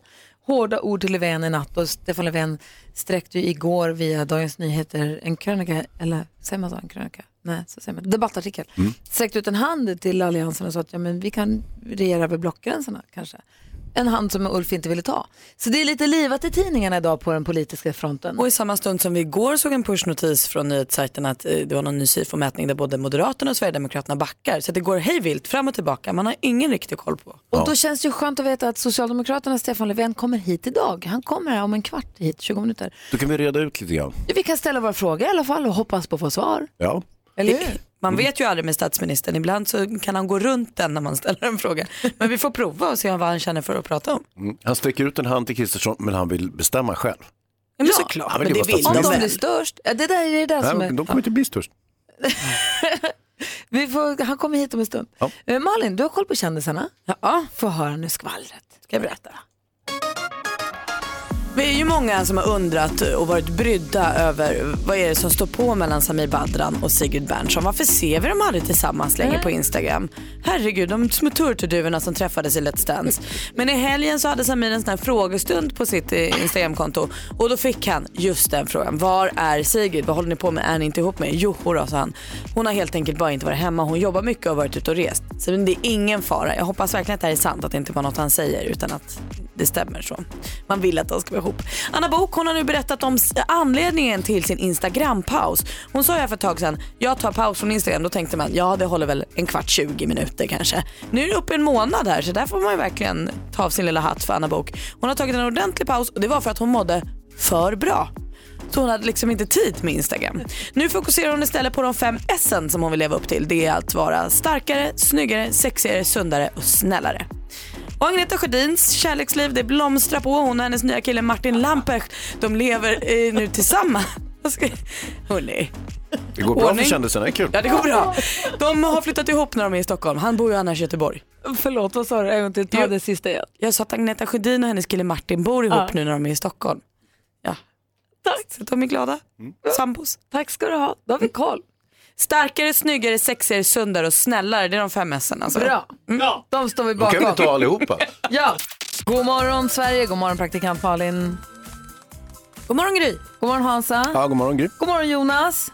[SPEAKER 1] Hårda ord till Löfven i natt och Stefan Löfven sträckte ju igår via Dagens Nyheter en krönika, eller säger man så, en krönika? Nej, så säger man, debattartikel. Sträckte ut en hand till Alliansen och sa att ja, men vi kan regera över blockgränserna kanske en hand som Ulf inte ville ta. Så det är lite livat i tidningarna idag på den politiska fronten.
[SPEAKER 2] Och i samma stund som vi igår såg en pushnotis från nyhetssajten att eh, det var någon ny SIFO-mätning där både Moderaterna och Sverigedemokraterna backar. Så att det går hej vilt fram och tillbaka. Man har ingen riktig koll på.
[SPEAKER 1] Och då känns det ju skönt att veta att Socialdemokraternas Stefan Löfven kommer hit idag. Han kommer här om en kvart hit, 20 minuter.
[SPEAKER 3] Då kan vi reda ut lite grann.
[SPEAKER 1] Vi kan ställa våra frågor i alla fall och hoppas på att få svar.
[SPEAKER 3] Ja.
[SPEAKER 1] Eller hur?
[SPEAKER 2] Man vet ju aldrig med statsministern. Ibland så kan han gå runt den när man ställer en fråga. Men vi får prova och se vad han känner för att prata om.
[SPEAKER 3] Mm. Han sträcker ut en hand till Kristersson, men han vill bestämma själv.
[SPEAKER 2] Ja, men
[SPEAKER 1] Ja,
[SPEAKER 2] såklart.
[SPEAKER 3] han vill
[SPEAKER 2] men
[SPEAKER 3] ju
[SPEAKER 2] det
[SPEAKER 3] vara
[SPEAKER 2] vill
[SPEAKER 1] Om
[SPEAKER 2] de
[SPEAKER 1] de
[SPEAKER 2] väl.
[SPEAKER 1] blir störst. Ja, Det där är det där som
[SPEAKER 3] Nej,
[SPEAKER 1] är...
[SPEAKER 3] de kommer inte bli störst.
[SPEAKER 1] Vi får, han kommer hit om en stund.
[SPEAKER 3] Ja.
[SPEAKER 1] Eh, Malin, du har koll på kändisarna. Ja. Få höra nu skvallret.
[SPEAKER 2] Ska jag berätta? Vi är ju många som har undrat och varit brydda över vad är det som står på mellan Samir Badran och Sigrid Bernson. Varför ser vi dem aldrig tillsammans längre på Instagram? Herregud, de små turturduvorna som träffades i Let's Dance. Men i helgen så hade Samir en sån här frågestund på sitt eh, Instagramkonto och då fick han just den frågan. Var är Sigrid? Vad håller ni på med? Är ni inte ihop med? Jo, då, sa han. Hon har helt enkelt bara inte varit hemma. Hon jobbar mycket och har varit ute och rest. Så det är ingen fara. Jag hoppas verkligen att det här är sant, att det inte var något han säger utan att det stämmer så. Man vill att de ska vara ihop. Anna Bok hon har nu berättat om s- anledningen till sin Instagram-paus. Hon sa ju här för ett tag sedan, jag tar paus från Instagram. Då tänkte man, ja det håller väl en kvart 20 minuter kanske. Nu är det uppe en månad här så där får man ju verkligen ta av sin lilla hatt för Anna Bok. Hon har tagit en ordentlig paus och det var för att hon mådde för bra. Så hon hade liksom inte tid med Instagram. Nu fokuserar hon istället på de fem S'en som hon vill leva upp till. Det är att vara starkare, snyggare, sexigare, sundare och snällare. Och Agneta Sjödins kärleksliv det blomstrar på. Hon och hennes nya kille Martin Lamprecht de lever eh, nu tillsammans. Vad ska- Hörni,
[SPEAKER 3] Det går bra för
[SPEAKER 2] Ordning.
[SPEAKER 3] kändisarna, det är kul.
[SPEAKER 2] ja det går bra. De har flyttat ihop när de är i Stockholm. Han bor ju annars i Göteborg.
[SPEAKER 1] Förlåt, vad sa du? En gång till, ta
[SPEAKER 2] Jo.
[SPEAKER 1] det sista igen.
[SPEAKER 2] Jag sa att Agneta Sjödin och hennes kille Martin bor ihop
[SPEAKER 1] Ja.
[SPEAKER 2] nu när de är i Stockholm. Ja. Tack. Så de är glada.
[SPEAKER 3] Mm.
[SPEAKER 2] Sambos.
[SPEAKER 1] Tack ska du ha, då har vi koll.
[SPEAKER 2] Starkare, snyggare, sexigare, sundare och snällare. Det är de fem S'en alltså.
[SPEAKER 1] Bra, de står vi
[SPEAKER 3] Då kan vi
[SPEAKER 1] bakom.
[SPEAKER 3] ta allihopa.
[SPEAKER 1] Ja. God morgon Sverige, god morgon praktikant Malin. God morgon Gry. God morgon Hansa.
[SPEAKER 3] Ja, god morgon Gry.
[SPEAKER 1] God morgon Jonas.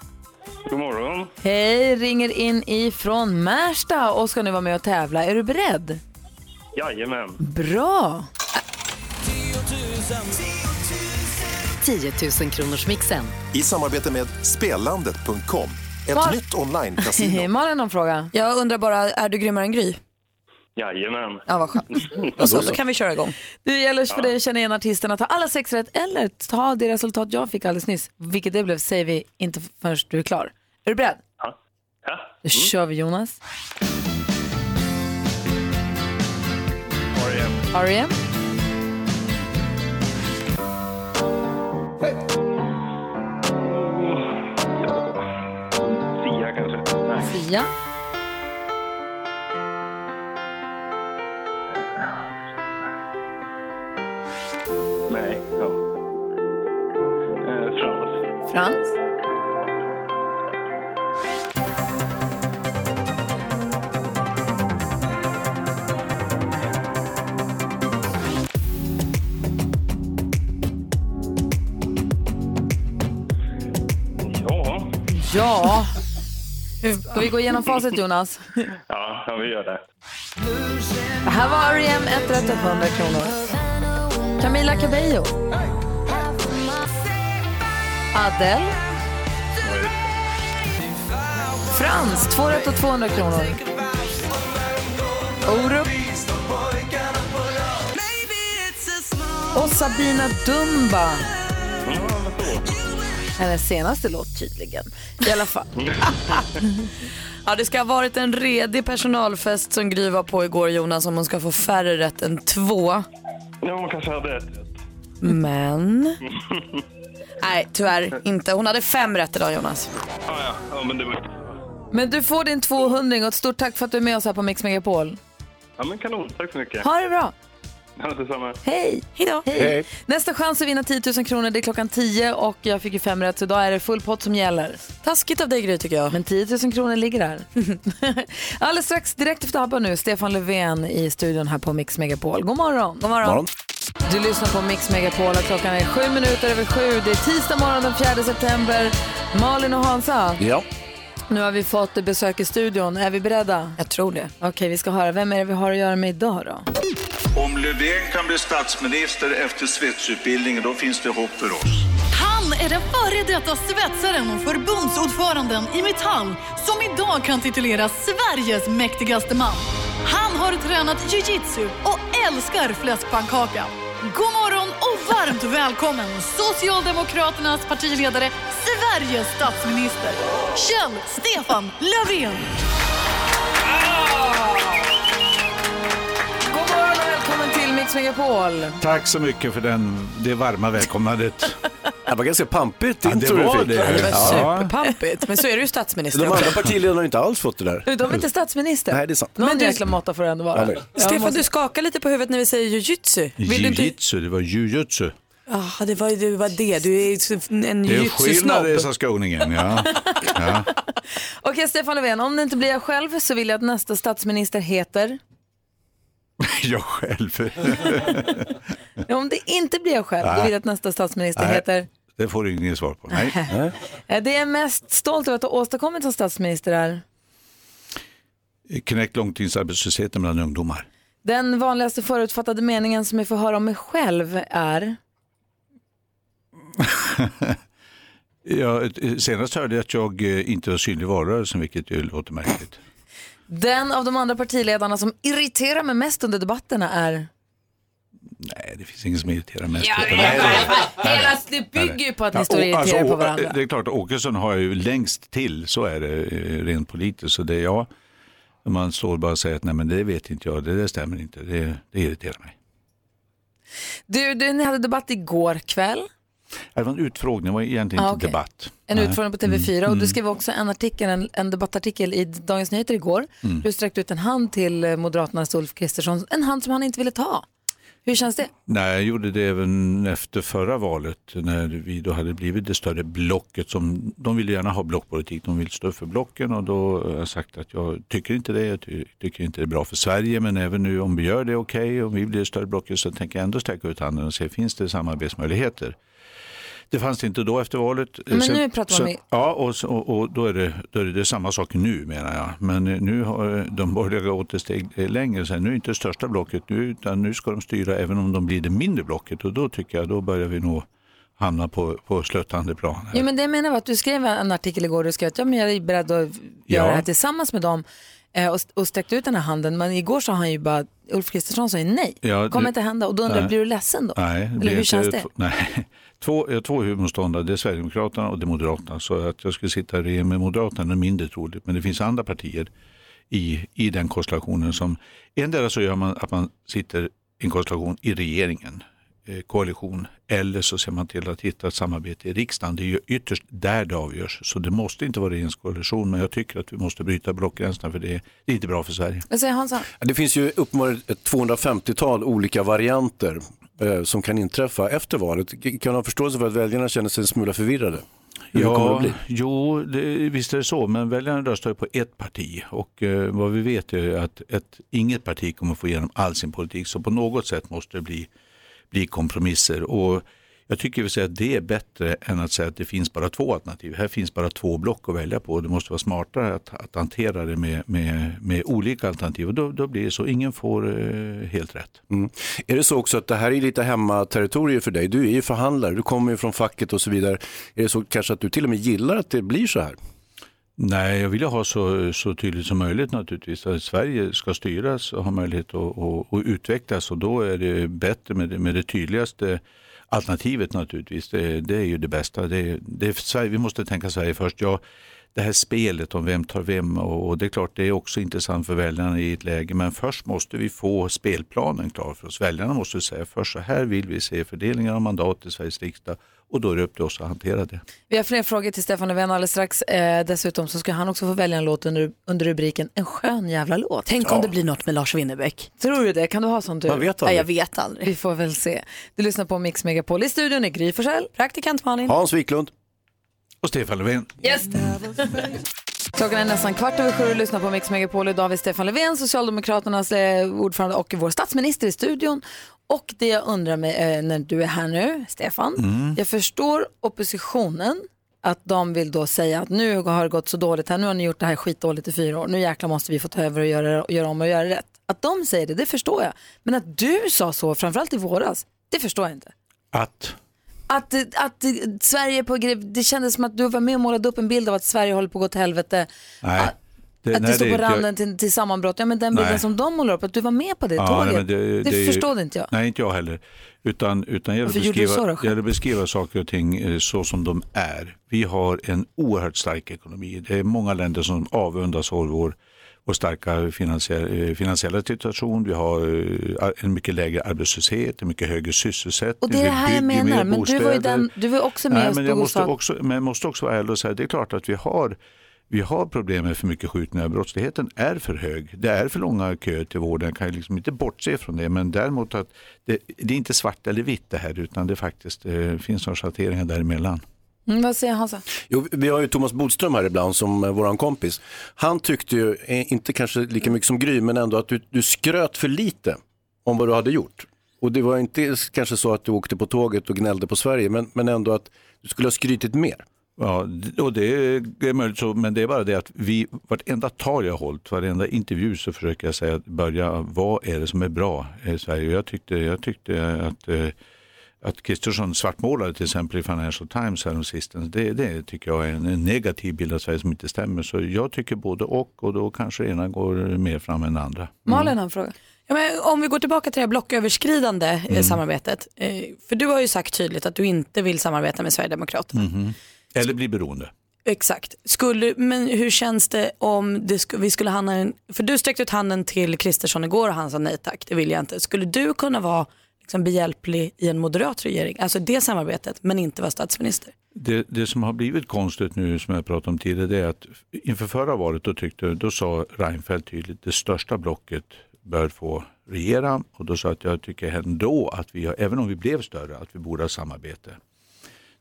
[SPEAKER 10] God morgon.
[SPEAKER 1] Hej, ringer in ifrån Märsta och ska nu vara med och tävla. Är du beredd?
[SPEAKER 10] Jajamän.
[SPEAKER 1] Bra.
[SPEAKER 9] 10 000 kronors mixen.
[SPEAKER 11] I samarbete med Spelandet.com, ett
[SPEAKER 1] Var-
[SPEAKER 11] nytt online
[SPEAKER 1] Hej, Malin någon fråga?
[SPEAKER 2] Jag undrar bara, är du grymmare än Gry?
[SPEAKER 10] Jajamän.
[SPEAKER 2] Ja, vad skönt.
[SPEAKER 1] Alltså,
[SPEAKER 2] Och så, då kan vi köra igång.
[SPEAKER 1] Det gäller för dig att känna igen artisterna, ta alla sex rätt eller ta det resultat jag fick alldeles nyss. Vilket det blev säger vi inte förrän du är klar. Är du beredd?
[SPEAKER 10] Ja. Ja.
[SPEAKER 1] Då kör vi Jonas.
[SPEAKER 10] R.E.M.
[SPEAKER 1] R.E.M.
[SPEAKER 10] Sia kanske? Nej.
[SPEAKER 1] Sia.
[SPEAKER 10] Nej. Ja. Eh, Frans.
[SPEAKER 1] Frans.
[SPEAKER 10] Ja.
[SPEAKER 1] Ja. Ska vi gå igenom facit Jonas?
[SPEAKER 10] Ja, ja, vi gör det.
[SPEAKER 1] Det här var R.E.M. ett rätt upp 100 kronor. Camila Cabello. Adele. Frans, två rätt och 200 kronor. Orup. Och Sabina Dumba. Hennes senaste låt tydligen. I alla fall.
[SPEAKER 2] Ja, det ska ha varit en redig personalfest som Gry var på igår Jonas om hon ska få färre rätt än två.
[SPEAKER 10] Ja, hon kanske hade ett.
[SPEAKER 2] Men... Nej, tyvärr inte. Hon hade fem rätt idag Jonas.
[SPEAKER 10] Ja, Ah, ja. ja, men det var...
[SPEAKER 1] Men du får din 200 och ett stort tack för att du är med oss här på Mix Megapol.
[SPEAKER 10] Ja, men kanon. Tack så mycket.
[SPEAKER 1] Ha det bra.
[SPEAKER 10] Ja, detsamma.
[SPEAKER 1] Hej! Hejdå.
[SPEAKER 10] Hej.
[SPEAKER 1] Nästa chans att vinna 10 000 kronor det är klockan 10 och jag fick ju fem rätt så idag är det full pott som gäller.
[SPEAKER 2] Taskigt av dig Gry tycker jag.
[SPEAKER 1] Men 10 000 kronor ligger där. Alldeles strax, direkt efter ABBA nu, Stefan Löfven i studion här på Mix Megapol. God morgon! God morgon! Du lyssnar på Mix Megapol och klockan är sju minuter över sju. Det är tisdag morgon den 4 september. Malin och Hansa,
[SPEAKER 3] Ja.
[SPEAKER 1] nu har vi fått besök i studion. Är vi beredda? Jag tror det. Okej, vi ska höra. Vem är det vi har att göra med idag då?
[SPEAKER 12] Om Löfven kan bli statsminister efter svetsutbildningen, då finns det hopp för oss.
[SPEAKER 13] Han är den före detta svetsaren och förbundsordföranden i Metall som idag kan tituleras Sveriges mäktigaste man. Han har tränat jiu-jitsu och älskar fläskpannkaka. God morgon och varmt välkommen Socialdemokraternas partiledare, Sveriges statsminister, Kjell Stefan
[SPEAKER 14] Eh,
[SPEAKER 13] Löfven.
[SPEAKER 1] God morgon och välkommen till Mix Megapol!
[SPEAKER 15] Tack så mycket för den, det varma välkomnandet.
[SPEAKER 3] Det var ganska pampigt
[SPEAKER 15] ja, det
[SPEAKER 3] intro du
[SPEAKER 15] var
[SPEAKER 3] fick.
[SPEAKER 15] Det.
[SPEAKER 3] Det var
[SPEAKER 15] Ja.
[SPEAKER 2] Superpampigt. Men så är du ju
[SPEAKER 3] De
[SPEAKER 2] statsminister
[SPEAKER 3] andra
[SPEAKER 2] också.
[SPEAKER 3] partiledarna har inte alls fått det där.
[SPEAKER 1] De är inte statsminister.
[SPEAKER 3] Nej, det är sant.
[SPEAKER 1] Någon jäkla måtta får det ändå vara.
[SPEAKER 3] Ja, nej.
[SPEAKER 1] Jag
[SPEAKER 2] Stefan,
[SPEAKER 1] måste-
[SPEAKER 2] du skakar lite på huvudet när vi säger jujutsu. Vill du inte...
[SPEAKER 15] Jiu-jitsu, det var jujutsu.
[SPEAKER 2] Ah, det var ju det var det. Du är ju så- en
[SPEAKER 15] Det är skillnad i
[SPEAKER 2] jujutsu-snobb.
[SPEAKER 15] sa skåningen. Ja. Ja.
[SPEAKER 1] Okej, Stefan Löfven, om det inte blir jag själv så vill jag att nästa statsminister heter...
[SPEAKER 15] Jag själv.
[SPEAKER 1] Om det inte blir jag själv, då
[SPEAKER 15] Nej.
[SPEAKER 1] vill jag att nästa statsminister
[SPEAKER 15] Nej.
[SPEAKER 1] heter...
[SPEAKER 15] Det får du ingen svar på. Nej.
[SPEAKER 1] Eh, Det jag är mest stolt över att ha åstadkommit som statsminister är
[SPEAKER 15] Knäck långtidsarbetslösheten bland ungdomar.
[SPEAKER 1] den vanligaste förutfattade meningen som jag får höra om mig själv är...
[SPEAKER 15] Ja, senast hörde jag att jag eh, inte var synlig i valrörelsen, vilket ju låter märkligt.
[SPEAKER 1] Den av de andra partiledarna som irriterar mig mest under debatterna är...
[SPEAKER 15] Nej, det finns ingen som irriterar mest.
[SPEAKER 1] Jag vet,
[SPEAKER 15] Nej, nej, nej.
[SPEAKER 1] Hela det bygger ju på att ni
[SPEAKER 15] Ja,
[SPEAKER 1] står
[SPEAKER 15] och-
[SPEAKER 1] och irriterar
[SPEAKER 15] alltså,
[SPEAKER 1] på
[SPEAKER 15] och-
[SPEAKER 1] varandra.
[SPEAKER 15] Det är klart, Åkesson har ju längst till, så är det eh, rent politiskt. Så det är jag, man står bara och säger att nej men det vet inte jag, det där stämmer inte, det, det irriterar mig.
[SPEAKER 1] Du, du, ni hade debatt igår kväll.
[SPEAKER 15] Det var en utfrågning, det var egentligen
[SPEAKER 1] Ah,
[SPEAKER 15] inte
[SPEAKER 1] okej.
[SPEAKER 15] debatt.
[SPEAKER 1] En
[SPEAKER 15] Nej.
[SPEAKER 1] utfrågning på TV4
[SPEAKER 15] Mm,
[SPEAKER 1] och du
[SPEAKER 15] mm.
[SPEAKER 1] skrev också en, artikel, en, en debattartikel i Dagens Nyheter igår.
[SPEAKER 15] Mm.
[SPEAKER 1] Du sträckte ut en hand till eh, Moderaternas Ulf Kristersson, en hand som han inte ville ta. Hur känns det?
[SPEAKER 15] Nej, jag gjorde det även efter förra valet när vi då hade blivit det större blocket. Som, de ville gärna ha blockpolitik, de vill stå upp för blocken och då har jag sagt att jag tycker inte det, jag ty- tycker inte det är bra för Sverige men även nu om vi gör det okej, om vi blir det större blocket så tänker jag ändå sträcka ut handen och se finns det samarbetsmöjligheter. Det fanns det inte då efter valet.
[SPEAKER 1] Men
[SPEAKER 15] Sen-
[SPEAKER 1] nu pratar man
[SPEAKER 15] så-
[SPEAKER 1] om-
[SPEAKER 15] Ja, och, så- och, och då, är det, då är det, det är samma sak nu menar jag. Men eh, nu har eh, de borgerliga gått ett steg eh, längre. Så här, nu är det inte det största blocket nu, utan nu ska de styra även om de blir det mindre blocket. Och då tycker jag, då börjar vi nog hamna på, på slöttande plan. här.
[SPEAKER 1] Jo, men det jag menar var att du skrev en artikel igår och du skrev att ja, men jag är beredd att göra
[SPEAKER 15] Ja.
[SPEAKER 1] det här tillsammans med dem eh, och, och sträckte ut den här handen. Men igår sa han ju bara, Ulf Kristersson sa ju nej,
[SPEAKER 15] Ja,
[SPEAKER 1] det kommer
[SPEAKER 15] du-
[SPEAKER 1] inte hända. Och då undrar jag,
[SPEAKER 15] Nej.
[SPEAKER 1] blir du ledsen då?
[SPEAKER 15] Nej,
[SPEAKER 1] Eller
[SPEAKER 15] blir
[SPEAKER 1] hur
[SPEAKER 15] inte-
[SPEAKER 1] känns det?
[SPEAKER 15] två- Nej. Två, jag har två huvudmotståndare, det är Sverigedemokraterna och det är Moderaterna. Så att jag skulle sitta i regering med Moderaterna är mindre troligt. Men det finns andra partier i, i den konstellationen som... Endera så gör man att man sitter i en konstellation i regeringen, eh, koalition, eller så ser man till att hitta ett samarbete i riksdagen. Det är ju ytterst där det avgörs. Så det måste inte vara regeringskoalition, men jag tycker att vi måste bryta blockgränserna för det, det är inte bra för Sverige.
[SPEAKER 1] Vad säger Hansa?
[SPEAKER 3] Mm. Det finns ju uppenbarligen ett 250-tal olika varianter eh, som kan inträffa efter valet. Kan man ha förståelse för att väljarna känner sig en smula förvirrade? Hur kommer det att bli?
[SPEAKER 15] Jo, det, visst är det så, men väljarna röstar ju på ett parti och eh, vad vi vet är ju att ett, inget parti kommer få igenom all sin politik så på något sätt måste det bli, bli kompromisser. Och jag tycker vi säger att det är bättre än att säga att det finns bara två alternativ. Här finns bara två block att välja på och det måste vara smartare att, att hantera det med, med, med olika alternativ. Och då, då blir det så, ingen får eh, helt rätt.
[SPEAKER 3] Mm. Är det så också att det här är lite hemmaterritorier för dig? Du är ju förhandlare, du kommer ju från facket och så vidare. Är det så kanske att du till och med gillar att det blir så här?
[SPEAKER 15] Nej, jag vill ju ha så, så tydligt som möjligt naturligtvis. Att Sverige ska styras och ha möjlighet att, att, att utvecklas och då är det bättre med det, med det tydligaste alternativet naturligtvis, det, det är ju det bästa. Det, det är Sverige, vi måste tänka Sverige först. Ja, det här spelet om vem tar vem och, och det är klart det är också intressant för väljarna i ett läge men först måste vi få spelplanen klar för oss. Väljarna måste säga först så här vill vi se fördelningar av mandat i Sveriges riksdag och då är det upp till oss att hantera det.
[SPEAKER 1] Vi har fler frågor till Stefan Löfven alldeles strax. Eh, dessutom så ska han också få välja en låt under, under rubriken En skön jävla låt.
[SPEAKER 16] Tänk om det blir något med Lars Winnerbäck.
[SPEAKER 1] Tror du det? Kan du ha sånt du?
[SPEAKER 16] Man vet aldrig. Ja, jag vet
[SPEAKER 1] aldrig. Vi får väl se. Du lyssnar på Mix Megapol. I studion är Gry Forssell, praktikant Malin.
[SPEAKER 3] Hans Wiklund. Och Stefan Löfven.
[SPEAKER 1] Yes. Klockan är nästan kvart över sju och lyssnar på Mix Megapol. Idag har vi Stefan Löfven, Socialdemokraternas eh, ordförande och vår statsminister i studion. Och det jag undrar mig eh, när du är här nu, Stefan.
[SPEAKER 16] Mm.
[SPEAKER 1] Jag förstår oppositionen, att de vill då säga att nu har det gått så dåligt här, nu har ni gjort det här skitdåligt i fyra år, nu jäklar måste vi få ta över och göra, och göra om och göra rätt. Att de säger det, det förstår jag. Men att du sa så, framförallt i våras, det förstår jag inte.
[SPEAKER 15] Att?
[SPEAKER 1] Att, att Sverige på gre- det kändes som att du var med och målade upp en bild av att Sverige håller på att gå till helvete.
[SPEAKER 15] Nej.
[SPEAKER 1] att
[SPEAKER 15] nej,
[SPEAKER 1] det står
[SPEAKER 15] är
[SPEAKER 1] på
[SPEAKER 15] inte- jag-
[SPEAKER 1] randen till, till sammanbrott. Ja men den bilden
[SPEAKER 15] Nej.
[SPEAKER 1] som de målar upp, att du var med på det tåget.
[SPEAKER 15] nej, men
[SPEAKER 1] det
[SPEAKER 15] är ju-
[SPEAKER 1] förstod inte jag.
[SPEAKER 15] Nej, inte jag heller. Utan, utan jag
[SPEAKER 1] Varför
[SPEAKER 15] gäller
[SPEAKER 1] gjorde du
[SPEAKER 15] beskriva,
[SPEAKER 1] så då,
[SPEAKER 15] jag
[SPEAKER 1] själv?
[SPEAKER 15] vill beskriva saker och ting eh, så som de är. Vi har en oerhört stark ekonomi. Det är många länder som avundas vår, vår, vår starka finansiella, eh, finansiella situation. Vi har eh, en mycket lägre arbetslöshet, en mycket högre sysselsättning.
[SPEAKER 1] Och det är
[SPEAKER 15] Vi
[SPEAKER 1] det här jag
[SPEAKER 15] bygger mer
[SPEAKER 1] menar. Men du var ju
[SPEAKER 15] bostäder.
[SPEAKER 1] den, du var också med
[SPEAKER 15] Nej,
[SPEAKER 1] och
[SPEAKER 15] men jag
[SPEAKER 1] stod och
[SPEAKER 15] måste,
[SPEAKER 1] sa
[SPEAKER 15] också, men jag måste också vara ärlig och säga det är klart att vi har, vi har problem med för mycket skjutningar. Brottsligheten är för hög. Det är för långa köer till vården. Jag kan ju liksom inte bortse från det. Men däremot att det, det är inte svart eller vitt det här utan det faktiskt eh, finns några schatteringar däremellan.
[SPEAKER 1] mm, vad säger Hansa?
[SPEAKER 3] Jo, vi har ju Thomas Bodström här ibland som eh, våran kompis. Han tyckte ju, eh, inte kanske lika mycket som Gry, men ändå att du, du skröt för lite om vad du hade gjort. Och det var inte s- kanske så att du åkte på tåget och gnällde på Sverige, men, men ändå att du skulle ha skrytit mer.
[SPEAKER 15] Ja, d- och det är möjligt, så, men det är bara det att vi, vartenda tal jag har hållit, varenda intervju så försöker jag säga, att börja, vad är det som är bra i Sverige? Och Jag tyckte, jag tyckte att, eh, att Kristersson svartmålade till exempel i Financial Times häromsistens. Det, det tycker jag är en, en negativ bild av Sverige som inte stämmer. Så jag tycker både och och då kanske det ena går mer fram än det andra.
[SPEAKER 1] Malin har en fråga.
[SPEAKER 16] Ja, men om vi går tillbaka till det här blocköverskridande eh,
[SPEAKER 15] Mm.
[SPEAKER 16] samarbetet. Eh, för du har ju sagt tydligt att du inte vill samarbeta med Sverigedemokraterna.
[SPEAKER 15] Mhm. Eller bli beroende.
[SPEAKER 16] Exakt. Skulle, men hur känns det om det sk- vi skulle hamna i en, För du sträckte ut handen till Kristersson igår och han sa nej tack, det vill jag inte. Skulle du kunna vara liksom, behjälplig i en moderat regering, alltså det samarbetet, men inte vara statsminister?
[SPEAKER 15] Det, det som har blivit konstigt nu som jag pratade om tidigare det är att inför förra valet då, tyckte, då sa Reinfeldt tydligt det största blocket bör få regera och då sa jag att jag tycker ändå att vi, har, även om vi blev större, att vi borde ha samarbete.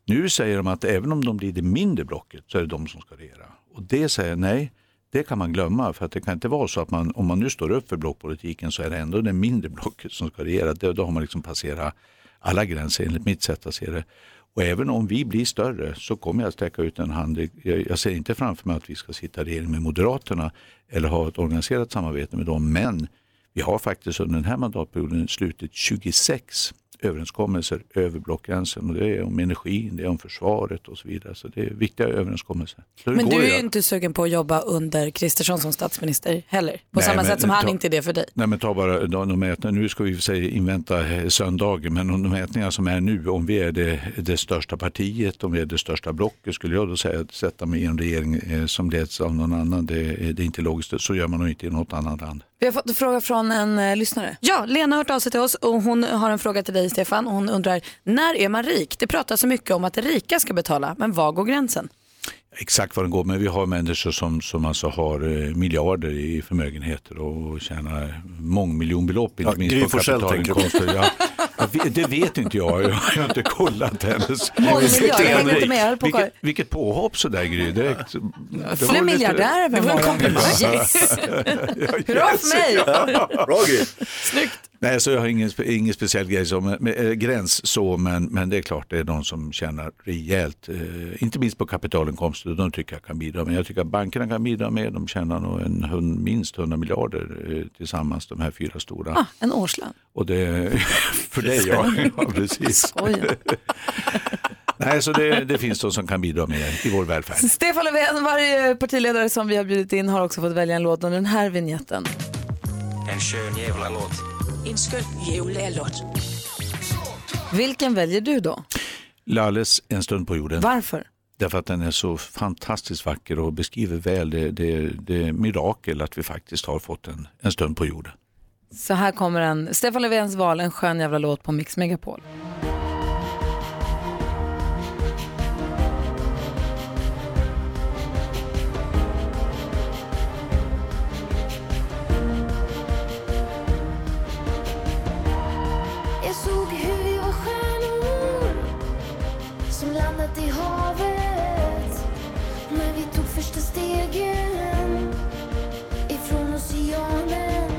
[SPEAKER 15] Nu säger de att även om de blir det mindre blocket så är det de som ska regera. Och det säger jag, nej, det kan man glömma för att det kan inte vara så att man, om man nu står upp för blockpolitiken så är det ändå det mindre blocket som ska regera. Det, då har man liksom passerat alla gränser enligt mitt sätt att se det. Och även om vi blir större så kommer jag att sträcka ut en hand. Jag, jag ser inte framför mig att vi ska sitta i regering med Moderaterna eller ha ett organiserat samarbete med dem. Men vi har faktiskt under den här mandatperioden slutit 26 överenskommelser över blockgränsen. Och det är om energin, det är om försvaret och så vidare. Så det är viktiga överenskommelser. Så det
[SPEAKER 16] Men
[SPEAKER 15] går
[SPEAKER 16] du
[SPEAKER 15] att
[SPEAKER 16] är ju
[SPEAKER 15] göra.
[SPEAKER 16] inte sugen på att jobba under Kristersson som statsminister heller, på
[SPEAKER 15] Nej,
[SPEAKER 16] samma
[SPEAKER 15] men
[SPEAKER 16] sätt som han
[SPEAKER 15] ta-
[SPEAKER 16] inte är det för dig.
[SPEAKER 15] Nej men ta bara de, de mätningar, nu ska vi i och för sig invänta eh, söndagen, men om de mätningar som är nu, om vi är det, det största partiet, om vi är det största blocket, skulle jag då säga att sätta mig i en regering eh, som leds av någon annan, det, är- det är inte logiskt, så gör man nog inte i något annat land.
[SPEAKER 1] Vi har fått en fråga från en eh, lyssnare.
[SPEAKER 16] Ja, Lena har hört av sig till oss och hon har en fråga till dig Stefan. Hon undrar, när är man rik? Det pratas så mycket om att rika ska betala, men var går gränsen?
[SPEAKER 15] Exakt var den går, men vi har människor som, som alltså har eh, miljarder i förmögenheter och tjänar mångmiljonbelopp, inte
[SPEAKER 3] Ja,
[SPEAKER 15] minst
[SPEAKER 3] Gry
[SPEAKER 15] på
[SPEAKER 3] Forssell
[SPEAKER 15] kapitalinkomster.
[SPEAKER 3] tänker du
[SPEAKER 15] Ja, jag vet- det vet inte jag, jag har inte kollat hennes.
[SPEAKER 1] Mångmiljard, jag hängde inte med, jag höll på att kolla.
[SPEAKER 15] vilket, vilket påhopp sådär Gry, direkt. Det var
[SPEAKER 1] Fler
[SPEAKER 15] lite-
[SPEAKER 1] miljardärer med Hurra för mig!
[SPEAKER 15] Nej, så jag har ingen, spe- ingen speciell grej som, med, eh, gräns så, men, men det är klart det är de som tjänar rejält, eh, inte minst på kapitalinkomster, de tycker jag kan bidra med. Jag tycker att bankerna kan bidra med, de tjänar nog en, hund- minst 100 miljarder eh, tillsammans, de här fyra stora.
[SPEAKER 1] Ah, en årslön.
[SPEAKER 15] Och det för dig, ja. ja precis.
[SPEAKER 1] Skojar.
[SPEAKER 15] Nej, så det, det finns de som kan bidra med i vår välfärd.
[SPEAKER 1] Stefan Löfven, varje partiledare som vi har bjudit in har också fått välja en låt under den här vignetten.
[SPEAKER 6] En skön jävla låt.
[SPEAKER 14] En skön jävla låt.
[SPEAKER 1] Vilken väljer du då?
[SPEAKER 15] Lalles En stund på jorden.
[SPEAKER 1] Varför?
[SPEAKER 15] Därför att den är så fantastiskt vacker och beskriver väl det, det, det mirakel att vi faktiskt har fått en, en stund på jorden.
[SPEAKER 1] Så här kommer en Stefan Löfvens val, en skön jävla låt på Mix Megapol.
[SPEAKER 6] Jag såg hur vi var stjärnor som landat i havet när vi tog första stegen ifrån oceanen.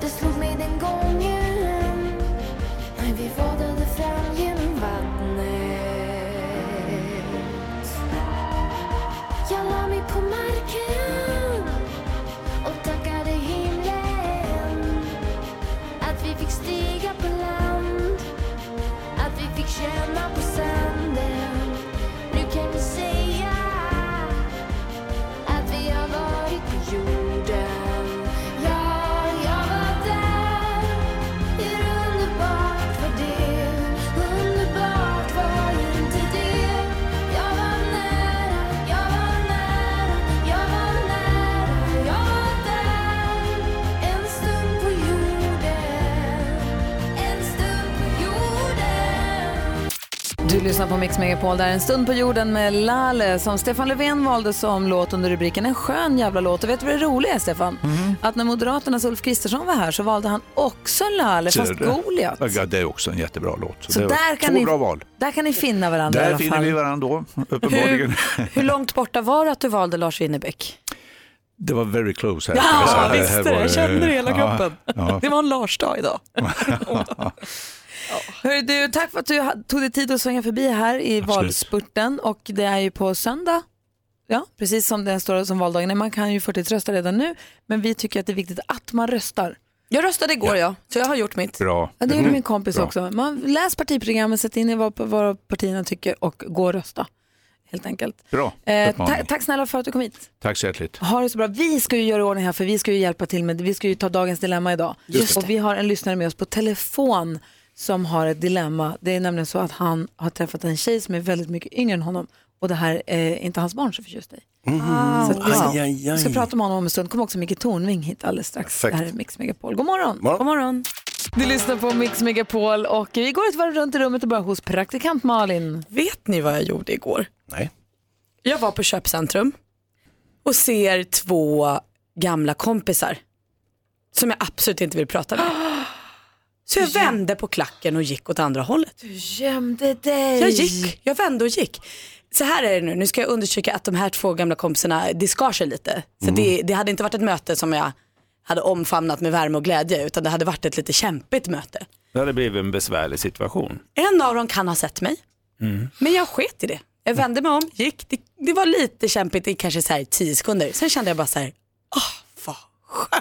[SPEAKER 6] Det slog mig den gången när vi vadade fram genom vattnet. Jag la mig på marken och tackade himlen att vi fick stiga på land Att vi fick känna på sanden Nu kan vi säga Att vi har varit på jorden Ja, jag var där Hur underbart var det? Underbart var inte det Jag var nära, jag var nära Jag var nära, jag var där En stund på jorden En stund på jorden
[SPEAKER 1] Du lyssnar på Mix Megapol, där en stund på jorden med Lale som Stefan Löfven valde som låt under rubriken En skön jävla låt. Och vet du vad det roliga är Stefan?
[SPEAKER 15] Mhm.
[SPEAKER 1] Att när Moderaternas Ulf Kristersson var här så valde han också Lale, fast
[SPEAKER 15] Ser du?
[SPEAKER 1] Goliat.
[SPEAKER 15] Ja, det är också en jättebra låt. Så,
[SPEAKER 1] Så
[SPEAKER 15] det var
[SPEAKER 1] där kan
[SPEAKER 15] två
[SPEAKER 1] ni-
[SPEAKER 15] bra val.
[SPEAKER 1] Där kan ni finna varandra i
[SPEAKER 15] Där
[SPEAKER 1] alla
[SPEAKER 15] finner
[SPEAKER 1] fall.
[SPEAKER 15] vi varandra då, uppenbarligen.
[SPEAKER 2] Hur långt borta var det att du valde Lars Winnerbäck?
[SPEAKER 15] Det var very close här.
[SPEAKER 2] Ja,
[SPEAKER 15] Så här-
[SPEAKER 2] visst
[SPEAKER 15] här
[SPEAKER 2] det.
[SPEAKER 15] var
[SPEAKER 2] Jag kände det i hela
[SPEAKER 15] Ja,
[SPEAKER 2] kroppen.
[SPEAKER 15] ja.
[SPEAKER 2] Det var en Lars-dag idag.
[SPEAKER 1] Hörru du, tack för att du ha- tog dig tid att svänga förbi här i valspurten. Och det är ju på söndag, ja, precis som den står som valdagen är. Man kan ju 40 rösta redan nu, men vi tycker att det är viktigt att man röstar.
[SPEAKER 2] Jag röstade igår ja, så jag har gjort mitt.
[SPEAKER 15] Bra.
[SPEAKER 1] Ja, det gjorde
[SPEAKER 2] Mm.
[SPEAKER 1] min kompis
[SPEAKER 2] Bra.
[SPEAKER 1] också. Man läs partiprogrammet, sätt in i vad, vad partierna tycker och gå och rösta. Helt enkelt.
[SPEAKER 15] Bra
[SPEAKER 1] Eh,
[SPEAKER 15] uppmaning.
[SPEAKER 1] ta- tack snälla för att du kom hit.
[SPEAKER 15] Tack så hjärtligt.
[SPEAKER 1] Ha det så bra. Vi ska ju göra i ordning här för vi ska ju hjälpa till med, vi ska ju ta dagens dilemma idag.
[SPEAKER 15] Just
[SPEAKER 1] och vi har en lyssnare med oss på telefon som har ett dilemma. Det är nämligen så att han har träffat en tjej som är väldigt mycket yngre än honom och det här är inte hans barn så förtjust i. Så att vi ska,
[SPEAKER 3] Mm-hmm. Aj, aj, aj.
[SPEAKER 1] vi ska prata om honom om en stund. Kommer också Micke Tornving hit alldeles strax.
[SPEAKER 3] Perfekt.
[SPEAKER 1] Det här är Mix Megapol. God morgon.
[SPEAKER 3] Morgon.
[SPEAKER 1] God morgon. Du lyssnar på Mix Megapol och vi går ett varv runt i rummet och börjar hos praktikant Malin.
[SPEAKER 2] Vet ni vad jag gjorde igår?
[SPEAKER 3] Nej.
[SPEAKER 2] Jag var på köpcentrum och ser två gamla kompisar som jag absolut inte vill prata med. Så jag vände på klacken och gick åt andra hållet.
[SPEAKER 1] Du gömde dig.
[SPEAKER 2] Jag gick, jag vände och gick. Så här är det nu, nu ska jag undersöka att de här två gamla kompisarna, det skar sig lite. För
[SPEAKER 1] Mm.
[SPEAKER 2] det, det hade inte varit ett möte som jag hade omfamnat med värme och glädje utan det hade varit ett lite kämpigt möte.
[SPEAKER 14] Det hade blivit en besvärlig situation.
[SPEAKER 2] En av dem kan ha sett mig,
[SPEAKER 3] Mm.
[SPEAKER 2] men jag sket i det. Jag vände mig om, gick. Det, det var lite kämpigt i kanske så här tio sekunder. Sen kände jag bara så här,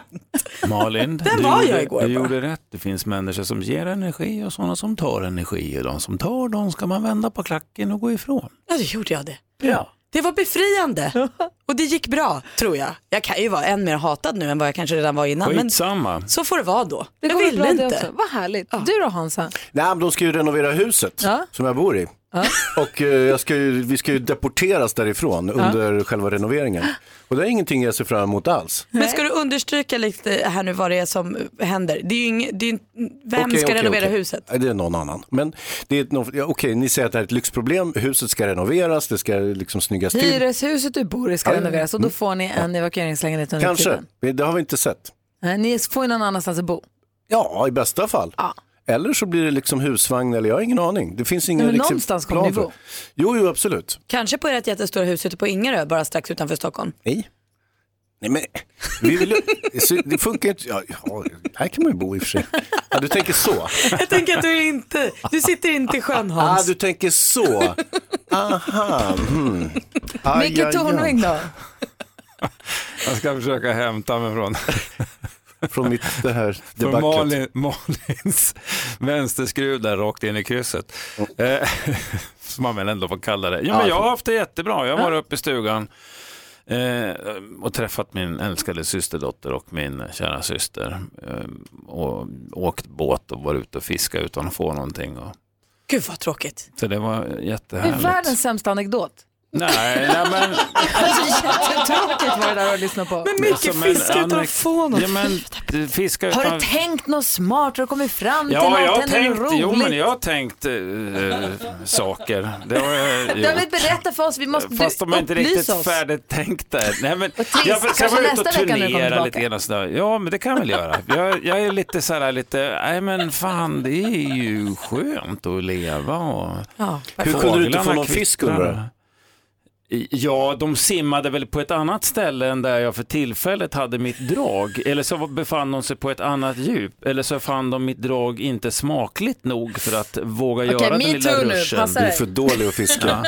[SPEAKER 14] Malin,
[SPEAKER 2] Där var jag
[SPEAKER 14] gjorde,
[SPEAKER 2] igår
[SPEAKER 14] du
[SPEAKER 2] bara.
[SPEAKER 14] gjorde rätt. Det finns människor som ger energi och sådana som tar energi. Och de som tar, de ska man vända på klacken och gå ifrån.
[SPEAKER 2] ja då gjorde jag det.
[SPEAKER 14] Ja.
[SPEAKER 2] "Mm, Det var befriande och det gick bra tror jag. Jag kan ju vara än mer hatad nu än vad jag kanske redan var innan. Men
[SPEAKER 14] Skitsamma.
[SPEAKER 2] så får det vara då.
[SPEAKER 1] Det
[SPEAKER 2] jag
[SPEAKER 1] kommer bra
[SPEAKER 2] ville
[SPEAKER 1] det
[SPEAKER 2] inte.
[SPEAKER 1] också. Vad härligt. Du då Hansa?
[SPEAKER 3] Nej, men de ska ju renovera huset som jag bor i. Och eh, jag ska ju, vi ska ju deporteras därifrån under själva renoveringen. Och det är ingenting jag ser fram emot alls.
[SPEAKER 2] Men ska du understryka lite här nu vad det är som händer? Det är ju ing, det är ju, vem
[SPEAKER 3] Okej,
[SPEAKER 2] ska
[SPEAKER 3] okej,
[SPEAKER 2] renovera
[SPEAKER 3] okej.
[SPEAKER 2] huset?
[SPEAKER 3] Nej, Det är någon annan. Men det är ett, någon- ja, okej, ni säger att det här är ett lyxproblem. Huset ska renoveras, det ska liksom snyggas till.
[SPEAKER 1] Hyreshuset du bor i ska
[SPEAKER 3] Ja, ja, ja.
[SPEAKER 1] renoveras och då
[SPEAKER 3] Mm.
[SPEAKER 1] får ni en evakueringslägenhet under
[SPEAKER 3] Kanske,
[SPEAKER 1] tiden.
[SPEAKER 3] det har vi inte sett.
[SPEAKER 1] Nej, Ni får ju någon annanstans att bo.
[SPEAKER 3] Ja, i bästa fall. Eller så blir det liksom husvagn eller jag har ingen aning. Det finns ingen
[SPEAKER 2] Nej, men
[SPEAKER 3] liksom
[SPEAKER 2] någonstans kommer
[SPEAKER 3] plan
[SPEAKER 2] ni
[SPEAKER 3] för-
[SPEAKER 2] bo.
[SPEAKER 3] Jo, jo, absolut.
[SPEAKER 2] Kanske på ert jättestora hus ute på Ingarö, bara strax utanför Stockholm.
[SPEAKER 3] Nej. Nej men, vi vill, ju- så det funkar ju inte. Ja, ja, här kan man ju bo i och för sig. Ja, du tänker så.
[SPEAKER 2] Jag tänker att du inte, du sitter inte i sjön
[SPEAKER 3] Ah,
[SPEAKER 2] Hans.
[SPEAKER 3] du tänker så. Aha. Mm. Aj, aj, aj.
[SPEAKER 1] Micke Tornving då?
[SPEAKER 14] Jag ska försöka hämta mig från,
[SPEAKER 3] från mitt det här
[SPEAKER 14] från
[SPEAKER 3] debaclet.
[SPEAKER 14] Malin, Malins vänsterskruv där rakt in i krysset. Eh, som man väl ändå får kalla det. Ja,
[SPEAKER 8] Ja,
[SPEAKER 14] men jag
[SPEAKER 8] får-
[SPEAKER 14] har haft det jättebra. Jag har varit uppe i stugan Eh, och träffat min älskade systerdotter och min kära syster. Eh, och åkt båt och varit ute och fiskat utan att få någonting. Och,
[SPEAKER 16] Gud vad tråkigt.
[SPEAKER 14] så det var
[SPEAKER 1] Det är
[SPEAKER 14] jättehärligt.
[SPEAKER 1] världens sämsta anekdot.
[SPEAKER 14] Nej, nej men...
[SPEAKER 1] Alltså, Jättetråkigt var det där att lyssna på.
[SPEAKER 14] Alltså, men Anne- Ja, men du fiskar utan...
[SPEAKER 1] Har du tänkt något smart? Har du kommit fram till
[SPEAKER 14] Ja,
[SPEAKER 1] något?
[SPEAKER 14] jag har
[SPEAKER 1] Eller
[SPEAKER 14] tänkt,
[SPEAKER 1] roligt?
[SPEAKER 14] jo, men jag har tänkt eh, saker. Det har jag
[SPEAKER 1] Ja,
[SPEAKER 14] gjort.
[SPEAKER 1] men berätta för oss, vi måste
[SPEAKER 14] Fast de är inte
[SPEAKER 1] upplys
[SPEAKER 14] riktigt
[SPEAKER 1] oss.
[SPEAKER 14] färdigtänkta. Nej, men
[SPEAKER 1] trist.
[SPEAKER 14] jag vill- kan
[SPEAKER 1] Kanske
[SPEAKER 14] vara ute och
[SPEAKER 1] nästa vecka när du kommer
[SPEAKER 14] turnera
[SPEAKER 1] tillbaka.
[SPEAKER 14] lite grann och sådär. Ja, men det kan jag väl göra. Jag, jag är lite så här, lite, nej men fan, det är ju skönt att leva och...
[SPEAKER 16] Ja,
[SPEAKER 3] Hur kunde du inte få någon fisk undrar jag?
[SPEAKER 14] I- Ja, de simmade väl på ett annat ställe än där jag för tillfället hade mitt drag. Eller så var- befann de sig på ett annat djup. Eller så fann de mitt drag inte smakligt nog för att våga
[SPEAKER 1] Okej,
[SPEAKER 14] göra
[SPEAKER 1] me
[SPEAKER 14] den lilla
[SPEAKER 1] too nu.
[SPEAKER 14] ruschen.
[SPEAKER 1] Passa Du är dig. för
[SPEAKER 3] dålig att
[SPEAKER 1] fiska.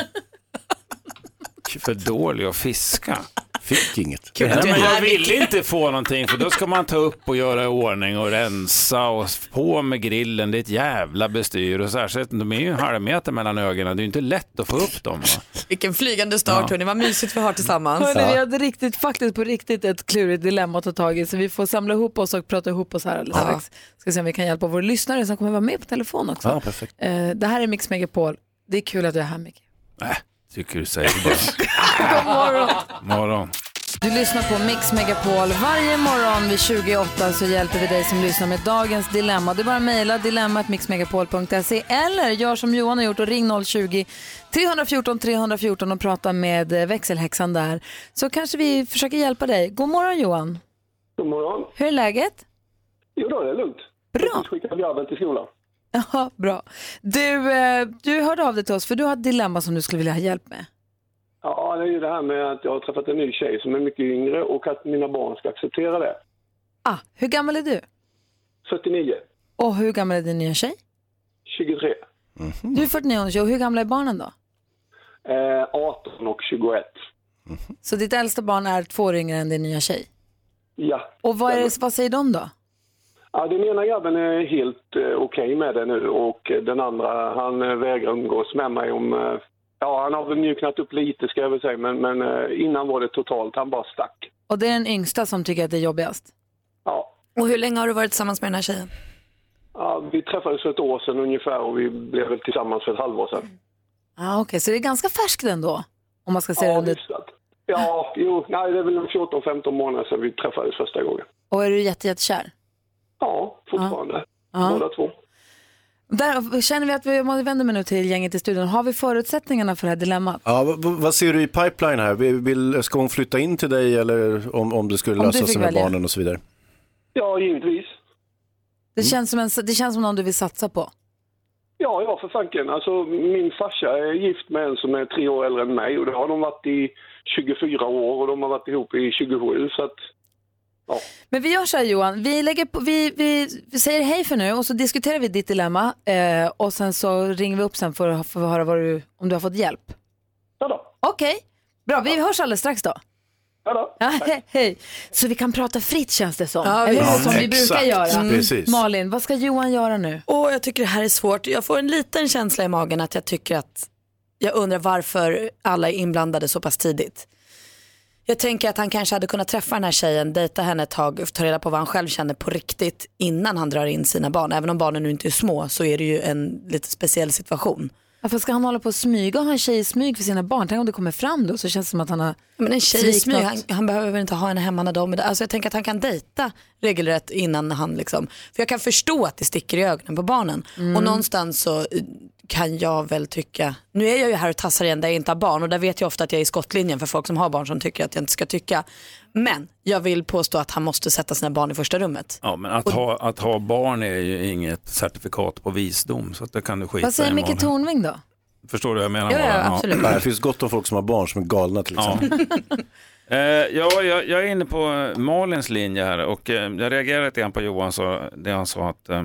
[SPEAKER 14] för dålig att fiska.
[SPEAKER 3] Fick inget.
[SPEAKER 14] Nej,
[SPEAKER 3] Det
[SPEAKER 14] men
[SPEAKER 3] här
[SPEAKER 14] jag ville inte få någonting för då ska man ta upp och göra i ordning och rensa och på med grillen. Det är ett jävla bestyr och särskilt de är ju en halv meter mellan ögonen. Det är ju inte lätt att få upp dem. va?
[SPEAKER 16] Vilken flygande start
[SPEAKER 14] Ja.
[SPEAKER 16] hörni, vad mysigt vi har tillsammans.
[SPEAKER 1] Hörni, vi hade riktigt, faktiskt på riktigt ett klurigt dilemma att ta tag i så vi får samla ihop oss och prata ihop oss här alldeles
[SPEAKER 16] Ja.
[SPEAKER 1] strax. Ska se om vi kan hjälpa våra lyssnare som kommer vara med på telefon också.
[SPEAKER 14] Ja, perfekt.
[SPEAKER 1] Eh, det här är Mix Megapol. Det är kul att du är här Micke.
[SPEAKER 14] Tycker du säger bara.
[SPEAKER 1] God morgon.
[SPEAKER 14] Morgon.
[SPEAKER 1] Du lyssnar på Mix Megapol. Varje morgon vid 28 så hjälper vi dig som lyssnar med dagens dilemma. Det är bara att mejla dilemmatmixmegapol.se eller gör som Johan har gjort och ring 020-314 314 och prata med eh, växelhäxan där. Så kanske vi försöker hjälpa dig. God morgon Johan.
[SPEAKER 17] God morgon.
[SPEAKER 1] Hur är läget?
[SPEAKER 17] Jo då, det är lugnt. Bra. Jag skickade grabben till skolan.
[SPEAKER 1] Ja, bra. Du, eh, du hörde av dig till oss för du har ett dilemma som du skulle vilja ha hjälp med.
[SPEAKER 17] Ja, det är ju det här med att jag har träffat en ny tjej som är mycket yngre och att mina barn ska acceptera det.
[SPEAKER 1] Ah, hur gammal är du?
[SPEAKER 17] 49,
[SPEAKER 1] Och hur gammal är din nya tjej?
[SPEAKER 17] 23,
[SPEAKER 1] Du är 49 och hur gamla är barnen då?
[SPEAKER 17] eh, 18 och 21.
[SPEAKER 1] Så ditt äldsta barn är två år yngre än din nya tjej?
[SPEAKER 17] Ja.
[SPEAKER 1] Och vad, är det, vad säger de då?
[SPEAKER 17] ja, den ena grabben är helt eh, okej med det nu och eh, den andra han eh, vägrar umgås med mig om eh, Ja, han har väl mjuknat upp lite ska jag väl säga, men, men eh, innan var det totalt, han bara stack.
[SPEAKER 1] Och det är den yngsta som tycker att det är jobbigast.
[SPEAKER 17] Ja.
[SPEAKER 16] Och hur länge har du varit tillsammans med den här tjejen?
[SPEAKER 17] Ja, vi träffades för ett år sedan ungefär och vi blev väl tillsammans för ett halvår sedan.
[SPEAKER 1] Ah, Okej, så det är ganska färskt ändå? Om man ska se det lite.
[SPEAKER 17] Ja, jo, nej, det är väl 14-15 månader sedan vi träffades första gången.
[SPEAKER 1] Och är du jätte, jättekär?
[SPEAKER 17] Ja, fortfarande.
[SPEAKER 1] Ja.
[SPEAKER 17] Båda två.
[SPEAKER 1] Där känner vi att vi, om man vänder mig nu till gänget i studion, har vi förutsättningarna för det här dilemmat?
[SPEAKER 3] Ja, vad, vad- vad ser du i pipeline här? Vill, vill, ska hon flytta in till dig eller om, om det skulle
[SPEAKER 1] Om du
[SPEAKER 3] lösa
[SPEAKER 1] fick
[SPEAKER 3] sig med
[SPEAKER 1] välja.
[SPEAKER 3] barnen och så vidare?
[SPEAKER 17] Ja, givetvis.
[SPEAKER 1] Det, känns som en, det känns som någon du vill satsa på.
[SPEAKER 17] Ja, ja, för fanken. Alltså, min farsa är gift med en som är tre år äldre än mig och det har de varit i 24 år och de har varit ihop i 27, så att... Ja.
[SPEAKER 1] Men vi gör så här Johan, vi, lägger på, vi, vi, vi säger hej för nu och så diskuterar vi ditt dilemma eh, och sen så ringer vi upp sen för att få höra vad du, om du har fått hjälp.
[SPEAKER 17] Ja då.
[SPEAKER 1] Okej, bra. Vi hörs alldeles strax då.
[SPEAKER 17] Ja då.
[SPEAKER 1] he, hej. Så vi kan prata fritt känns det som.
[SPEAKER 16] Ja,
[SPEAKER 1] Eller hur?
[SPEAKER 16] visst.
[SPEAKER 1] som vi
[SPEAKER 16] Exakt,
[SPEAKER 1] brukar göra.
[SPEAKER 16] Mm. precis.
[SPEAKER 1] Malin, vad ska Johan göra nu?
[SPEAKER 16] Åh, jag tycker det här är svårt. Jag får en liten känsla i magen att jag tycker att jag undrar varför alla är inblandade så pass tidigt. Jag tänker att han kanske hade kunnat träffa den här tjejen, dejta henne ett tag och ta reda på vad han själv känner på riktigt innan han drar in sina barn. Även om barnen nu inte är små så är det ju en lite speciell situation.
[SPEAKER 1] Varför ska han hålla på och smyga och ha en tjej i smyg för sina barn? Tänk om det kommer fram då så känns det som att han har
[SPEAKER 16] Ja, Men en tjej i
[SPEAKER 1] svikit
[SPEAKER 16] smyg,
[SPEAKER 1] något.
[SPEAKER 16] han, han behöver väl inte ha henne hemma när de är där. Alltså jag tänker att han kan dejta regelrätt innan han liksom, för jag kan förstå att det sticker i ögonen på barnen.
[SPEAKER 1] Mm.
[SPEAKER 16] Och någonstans så eh, kan jag väl tycka, nu är jag ju här och tassar igen där jag inte har barn och där vet jag ofta att jag är i skottlinjen för folk som har barn som tycker att jag inte ska tycka. Men jag vill påstå att han måste sätta sina barn i första rummet.
[SPEAKER 14] Ja, men att ha, att ha barn är ju inget certifikat på visdom, så att det kan du skita
[SPEAKER 1] Vad säger
[SPEAKER 14] i
[SPEAKER 1] Micke
[SPEAKER 14] imorgon.
[SPEAKER 1] Tornving då?
[SPEAKER 14] Förstår du vad jag menar?
[SPEAKER 1] Ja, ja,
[SPEAKER 14] Mara?
[SPEAKER 1] absolut.
[SPEAKER 3] Nej, Äh, det finns gott om folk som har barn som är galna till exempel.
[SPEAKER 14] Eh, ja, jag, jag är inne på eh, Malins linje här och eh, jag reagerade lite grann på Johan så, det han sa att, eh,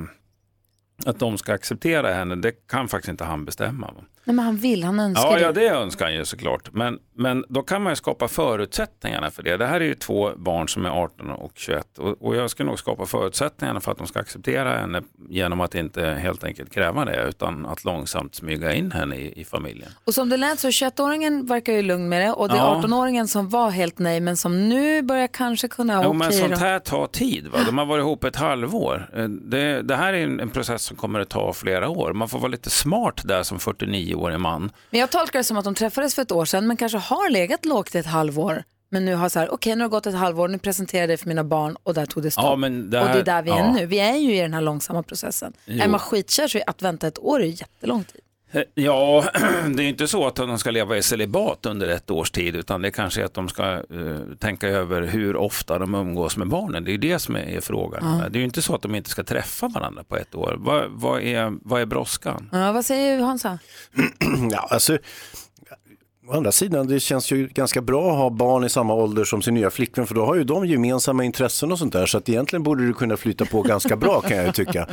[SPEAKER 14] att de ska acceptera henne. Det kan faktiskt inte han bestämma. va?
[SPEAKER 1] Nej, men han vill, han önskar
[SPEAKER 14] Ja, ja,
[SPEAKER 1] det.
[SPEAKER 14] det önskar han ju såklart. Men, men då kan man ju skapa förutsättningarna för det. Det här är ju två barn som är 18 och 21 och, och jag ska nog skapa förutsättningarna för att de ska acceptera henne genom att inte helt enkelt kräva det utan att långsamt smyga in henne i, i familjen.
[SPEAKER 1] Och som det lät så 21-åringen verkar ju lugn med det och det är
[SPEAKER 14] Ja.
[SPEAKER 1] 18-åringen som var helt nej men som nu börjar kanske kunna
[SPEAKER 14] Jo,
[SPEAKER 1] ha
[SPEAKER 14] men
[SPEAKER 1] okej
[SPEAKER 14] sånt
[SPEAKER 1] då.
[SPEAKER 14] här tar tid. Va? De har varit ihop ett halvår. Eh, Det, det här är en, en process som kommer att ta flera år. Man får vara lite smart där som 49-årig man.
[SPEAKER 1] Men jag tolkar det som att de träffades för ett år sedan men kanske har legat lågt i ett halvår. Men nu har så här, okej nu har det gått ett halvår, nu presenterar jag det för mina barn och där tog det stopp.
[SPEAKER 14] Ja, men det
[SPEAKER 1] och det
[SPEAKER 14] här-
[SPEAKER 1] är där vi är
[SPEAKER 14] ja.
[SPEAKER 1] nu. Vi är ju i den här långsamma processen.
[SPEAKER 14] Jo.
[SPEAKER 1] Är man skitkär så är att vänta ett år är ju jättelång tid.
[SPEAKER 14] Eh, Ja, det är ju inte så att de ska leva i celibat under ett års tid utan det kanske är att de ska eh, tänka över hur ofta de umgås med barnen. Det är ju det som är, är frågan.
[SPEAKER 1] Ja.
[SPEAKER 14] Det är ju inte så att de inte ska träffa varandra på ett år. Vad, vad, är, vad är brådskan?
[SPEAKER 1] Ja, vad säger Hansa?
[SPEAKER 3] ja, alltså, å andra sidan, det känns ju ganska bra att ha barn i samma ålder som sin nya flickvän för då har ju de gemensamma intressen och sånt där så att egentligen borde det kunna flyta på ganska bra kan jag ju tycka.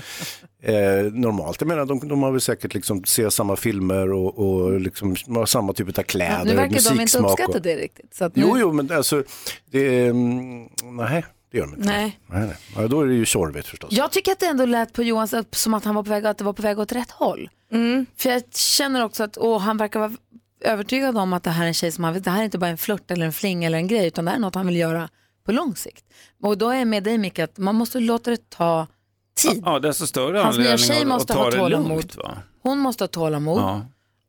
[SPEAKER 3] Eh, normalt, jag menar de, de har väl säkert liksom ser samma filmer och, och liksom, de har samma typ av kläder
[SPEAKER 1] nu
[SPEAKER 3] och
[SPEAKER 1] verkar de inte
[SPEAKER 3] musiksmak.
[SPEAKER 1] uppskatta
[SPEAKER 3] och...
[SPEAKER 1] det riktigt. Så att nu...
[SPEAKER 3] Jo, jo, men alltså, det, mm, nej, det gör de inte.
[SPEAKER 1] Nej.
[SPEAKER 3] Nej, nej. Ja, då är det ju tjorvigt förstås.
[SPEAKER 1] Jag tycker att det ändå lät på Johan så- som att han var på väg, att det var på väg åt rätt håll. För jag känner också att åh, han verkar vara övertygad om att det här är en tjej som han vet, det här är inte bara en flört eller en fling eller en grej utan det här är något han vill göra på lång sikt. Och då är jag med dig Micke att man måste låta det ta tid.
[SPEAKER 14] Ja, desto större
[SPEAKER 1] Hans nya
[SPEAKER 14] anledning
[SPEAKER 1] tjej
[SPEAKER 14] att-
[SPEAKER 1] måste
[SPEAKER 14] att ta
[SPEAKER 1] ha
[SPEAKER 14] det
[SPEAKER 1] tålamod. Oh.
[SPEAKER 14] lugnt. Va?
[SPEAKER 1] Hon måste ha tålamod
[SPEAKER 14] Ja.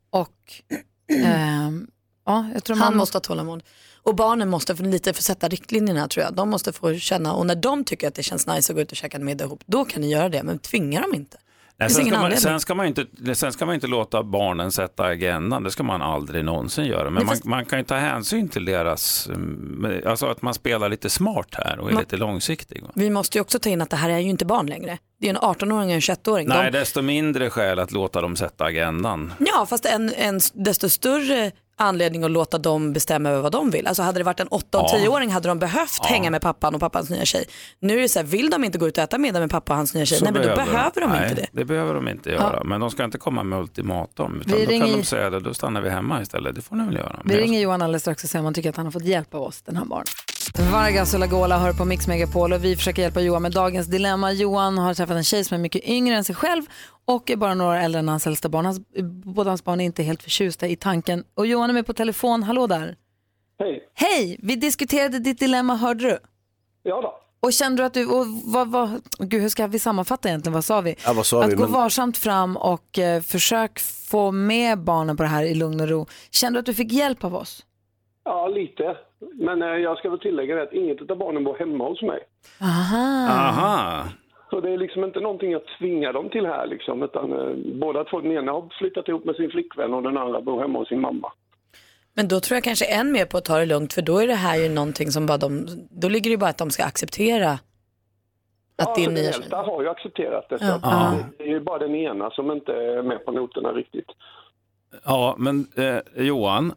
[SPEAKER 1] och ehm, ja, jag tror
[SPEAKER 16] Han
[SPEAKER 1] man
[SPEAKER 16] måste ha tålamod. Och barnen måste för lite få sätta riktlinjerna tror jag. De måste få känna och när de tycker att det känns nice att gå ut och käka en middag ihop, då kan ni göra det. Men tvinga dem inte.
[SPEAKER 14] Nej,
[SPEAKER 16] Det finns
[SPEAKER 14] sen,
[SPEAKER 16] ingen
[SPEAKER 14] ska man,
[SPEAKER 16] anledning.
[SPEAKER 14] sen, ska man inte, sen ska man inte låta barnen sätta agendan, det ska man aldrig någonsin göra. Men
[SPEAKER 16] Nej,
[SPEAKER 14] man,
[SPEAKER 16] fast-
[SPEAKER 14] man kan ju ta hänsyn till deras, mm, alltså att man spelar lite smart här och är
[SPEAKER 16] Man-
[SPEAKER 14] lite långsiktig. va?
[SPEAKER 16] Vi måste ju också ta in att det här är ju inte barn längre. Det är ju en 18-åring och en 21-åring.
[SPEAKER 14] Nej,
[SPEAKER 16] de,
[SPEAKER 14] desto mindre skäl att låta dem sätta agendan.
[SPEAKER 16] Ja, fast en, en desto större anledning att låta dem bestämma över vad de vill. Alltså hade det varit en 8 och
[SPEAKER 14] Ja.
[SPEAKER 16] 10-åring hade de behövt hänga med pappan och pappans nya tjej. Nu är det så här, vill de inte gå ut och äta middag med pappa och hans nya tjej,
[SPEAKER 14] Så
[SPEAKER 16] nej men då behöver de
[SPEAKER 14] Nej,
[SPEAKER 16] inte det.
[SPEAKER 14] Det behöver de inte göra, men de ska inte komma med ultimatum. Utan
[SPEAKER 1] Vi
[SPEAKER 14] då
[SPEAKER 1] ringer-
[SPEAKER 14] kan de säga det, då stannar vi hemma istället. Det får ni väl göra.
[SPEAKER 1] Vi ringer Johan alldeles strax och ser om han tycker att han har fått hjälp av oss den här morgonen. Vargas och Lagola hör på Mix Megapol och vi försöker hjälpa Johan med dagens dilemma. Johan har träffat en tjej som är mycket yngre än sig själv och är bara några år äldre än hans äldsta barn. Hans, båda hans barn är inte helt förtjusta i tanken. Och Johan är med på telefon. Hallå där!
[SPEAKER 17] Hej!
[SPEAKER 1] Hej! Vi diskuterade ditt dilemma, hörde du?
[SPEAKER 17] Ja då.
[SPEAKER 1] Och kände du att du, och vad, vad, gud hur ska vi sammanfatta egentligen, vad sa vi?
[SPEAKER 3] Ja, vad sa
[SPEAKER 1] att
[SPEAKER 3] vi?
[SPEAKER 1] gå
[SPEAKER 3] Men-
[SPEAKER 1] varsamt fram och eh, försök få med barnen på det här i lugn och ro. Kände du att du fick hjälp av oss?
[SPEAKER 17] Ja, lite. Men eh, jag ska väl tillägga det att inget av barnen bor hemma hos mig.
[SPEAKER 1] Aha.
[SPEAKER 14] Aha.
[SPEAKER 17] Så det är liksom inte någonting jag tvingar dem till här liksom, utan eh, båda två, den ena har flyttat ihop med sin flickvän och den andra bor hemma hos sin mamma.
[SPEAKER 16] Men då tror jag kanske än mer på att ta det lugnt för då är det här ju någonting som bara de, då ligger det ju bara att de ska acceptera att det är
[SPEAKER 17] den
[SPEAKER 16] nya tjej.
[SPEAKER 17] äldsta har ju accepterat det. så
[SPEAKER 16] Ja.
[SPEAKER 17] att
[SPEAKER 16] Ja.
[SPEAKER 17] Det är ju bara den ena som inte är med på noterna riktigt.
[SPEAKER 14] Ja, men eh, Johan,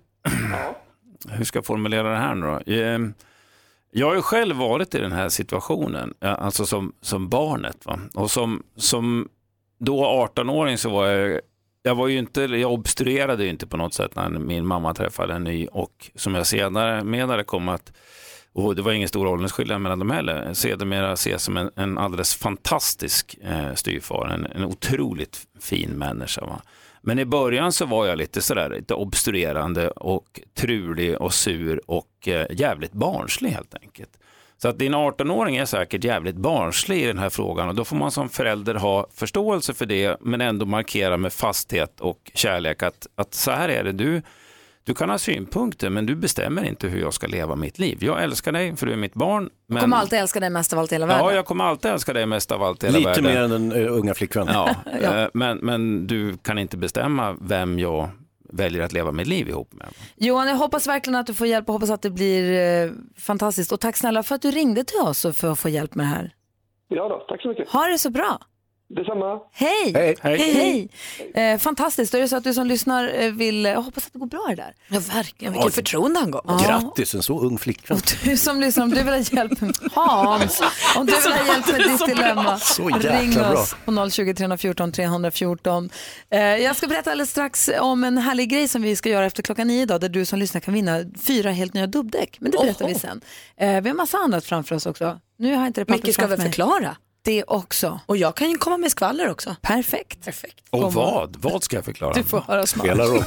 [SPEAKER 14] hur ska jag formulera det här nu då? Eh, jag har ju själv varit i den här situationen, eh, alltså som, som barnet. Va? Och som, som då 18-åring så var jag, jag var ju inte, jag obstruerade ju inte på något sätt när min mamma träffade en ny och som jag senare menade kom att och det var ingen stor åldersskillnad mellan dem heller. Sedermera ses som en, en alldeles fantastisk eh, styvfar, en, en otroligt fin människa. Va? Men i början så var jag lite sådär, lite obstruerande och trulig och sur och eh, jävligt barnslig helt enkelt. Så att din 18-åring är säkert jävligt barnslig i den här frågan och då får man som förälder ha förståelse för det men ändå markera med fasthet och kärlek att, att så här är det, du, du kan ha synpunkter men du bestämmer inte hur jag ska leva mitt liv. Jag älskar dig för du är mitt barn. Men...
[SPEAKER 1] Kommer alltid älska dig mest av allt i hela världen.
[SPEAKER 14] Ja, jag kommer alltid älska dig mest av allt i hela
[SPEAKER 3] Lite
[SPEAKER 14] världen.
[SPEAKER 3] mer än den eh, unga flickvännen.
[SPEAKER 14] Ja, eh, Men, men du kan inte bestämma vem jag väljer att leva mitt liv ihop med.
[SPEAKER 1] Johan, jag hoppas verkligen att du får hjälp och hoppas att det blir eh, fantastiskt. Och tack snälla för att du ringde till oss och för att få hjälp med det här.
[SPEAKER 17] Ja då, tack så mycket.
[SPEAKER 1] Ha det så bra.
[SPEAKER 17] Detsamma.
[SPEAKER 1] Hej!
[SPEAKER 17] Hej.
[SPEAKER 1] Hej! Hej. Eh, fantastiskt, då är det så att du som lyssnar eh, vill, jag hoppas att det går bra det där.
[SPEAKER 2] Ja, verkligen. Vilket förtroende han gav.
[SPEAKER 3] Grattis, en så ung flickvän.
[SPEAKER 1] Du som lyssnar, om du vill ha hjälp med Hans, om du vill ha hjälp med ditt dilemma,
[SPEAKER 3] Så jäkla
[SPEAKER 1] ring
[SPEAKER 3] bra.
[SPEAKER 1] oss på 020 314 314. Eh, jag ska berätta alldeles strax om en härlig grej som vi ska göra efter klockan nio idag, där du som lyssnar kan vinna fyra helt nya dubbdäck. Men det berättar vi
[SPEAKER 2] Oho.
[SPEAKER 1] sen. Eh, vi har massa annat framför oss också. Nu har jag inte det pappret
[SPEAKER 2] Micke ska
[SPEAKER 1] framför
[SPEAKER 2] väl
[SPEAKER 1] mig.
[SPEAKER 2] förklara?
[SPEAKER 1] Det också.
[SPEAKER 2] Och jag kan ju komma med skvaller också.
[SPEAKER 1] Perfekt. Perfekt.
[SPEAKER 8] Och vad? Vad ska jag förklara?
[SPEAKER 1] Du får höra snart.
[SPEAKER 8] Spelar roll.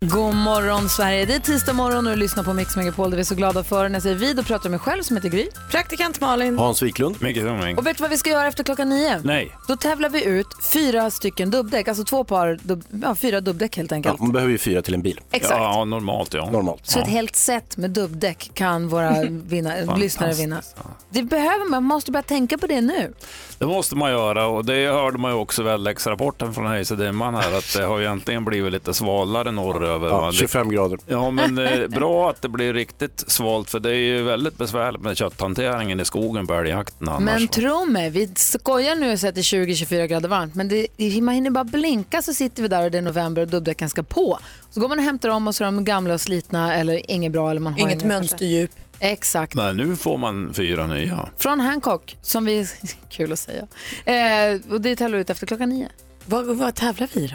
[SPEAKER 1] God morgon Sverige, det är tisdag morgon och du lyssnar på Mix Megapol, det är vi så glada för. När jag säger vi, då pratar jag med mig själv som heter Gry.
[SPEAKER 2] Praktikant Malin.
[SPEAKER 3] Hans Wiklund.
[SPEAKER 14] Mycket dumring.
[SPEAKER 1] Och vet du vad vi ska göra efter klockan nio?
[SPEAKER 14] Nej.
[SPEAKER 1] Då tävlar vi ut fyra stycken dubbdäck, alltså två par, dubb, ja, fyra dubbdäck helt enkelt.
[SPEAKER 3] Ja, man behöver ju fyra till en bil.
[SPEAKER 1] Exakt.
[SPEAKER 14] Ja, normalt ja.
[SPEAKER 3] Normalt.
[SPEAKER 1] Så ett helt set med dubbdäck kan våra vinna, lyssnare vinna. Det behöver man, man måste börja tänka på det nu.
[SPEAKER 14] Det måste man göra och det hörde man ju också i väderleksrapporten från Hayes och Dimman här att det har ju äntligen blivit lite svalare norröver.
[SPEAKER 3] Ja,
[SPEAKER 14] va? Det-
[SPEAKER 3] 25 grader.
[SPEAKER 14] Ja, men eh, bra att det blir riktigt svalt för det är ju väldigt besvärligt med kötthanteringen i skogen på älgjakten annars.
[SPEAKER 1] Men tro mig, vi skojar nu och säger att det är 20-24 grader varmt, men det, det- man hinner bara blinka så sitter vi där och det är november och dubbdäcken ska på. Så går man och hämtar om och så är de gamla och slitna eller inget bra. Eller man har
[SPEAKER 2] Inget
[SPEAKER 1] kanske.
[SPEAKER 2] mönsterdjup.
[SPEAKER 1] Exakt.
[SPEAKER 14] Nej, nu får man fyra nya.
[SPEAKER 1] Från Hancock, som vi... Kul att säga. Eh, och det tävlar ut efter klockan nio.
[SPEAKER 2] Vad, vad tävlar vi då?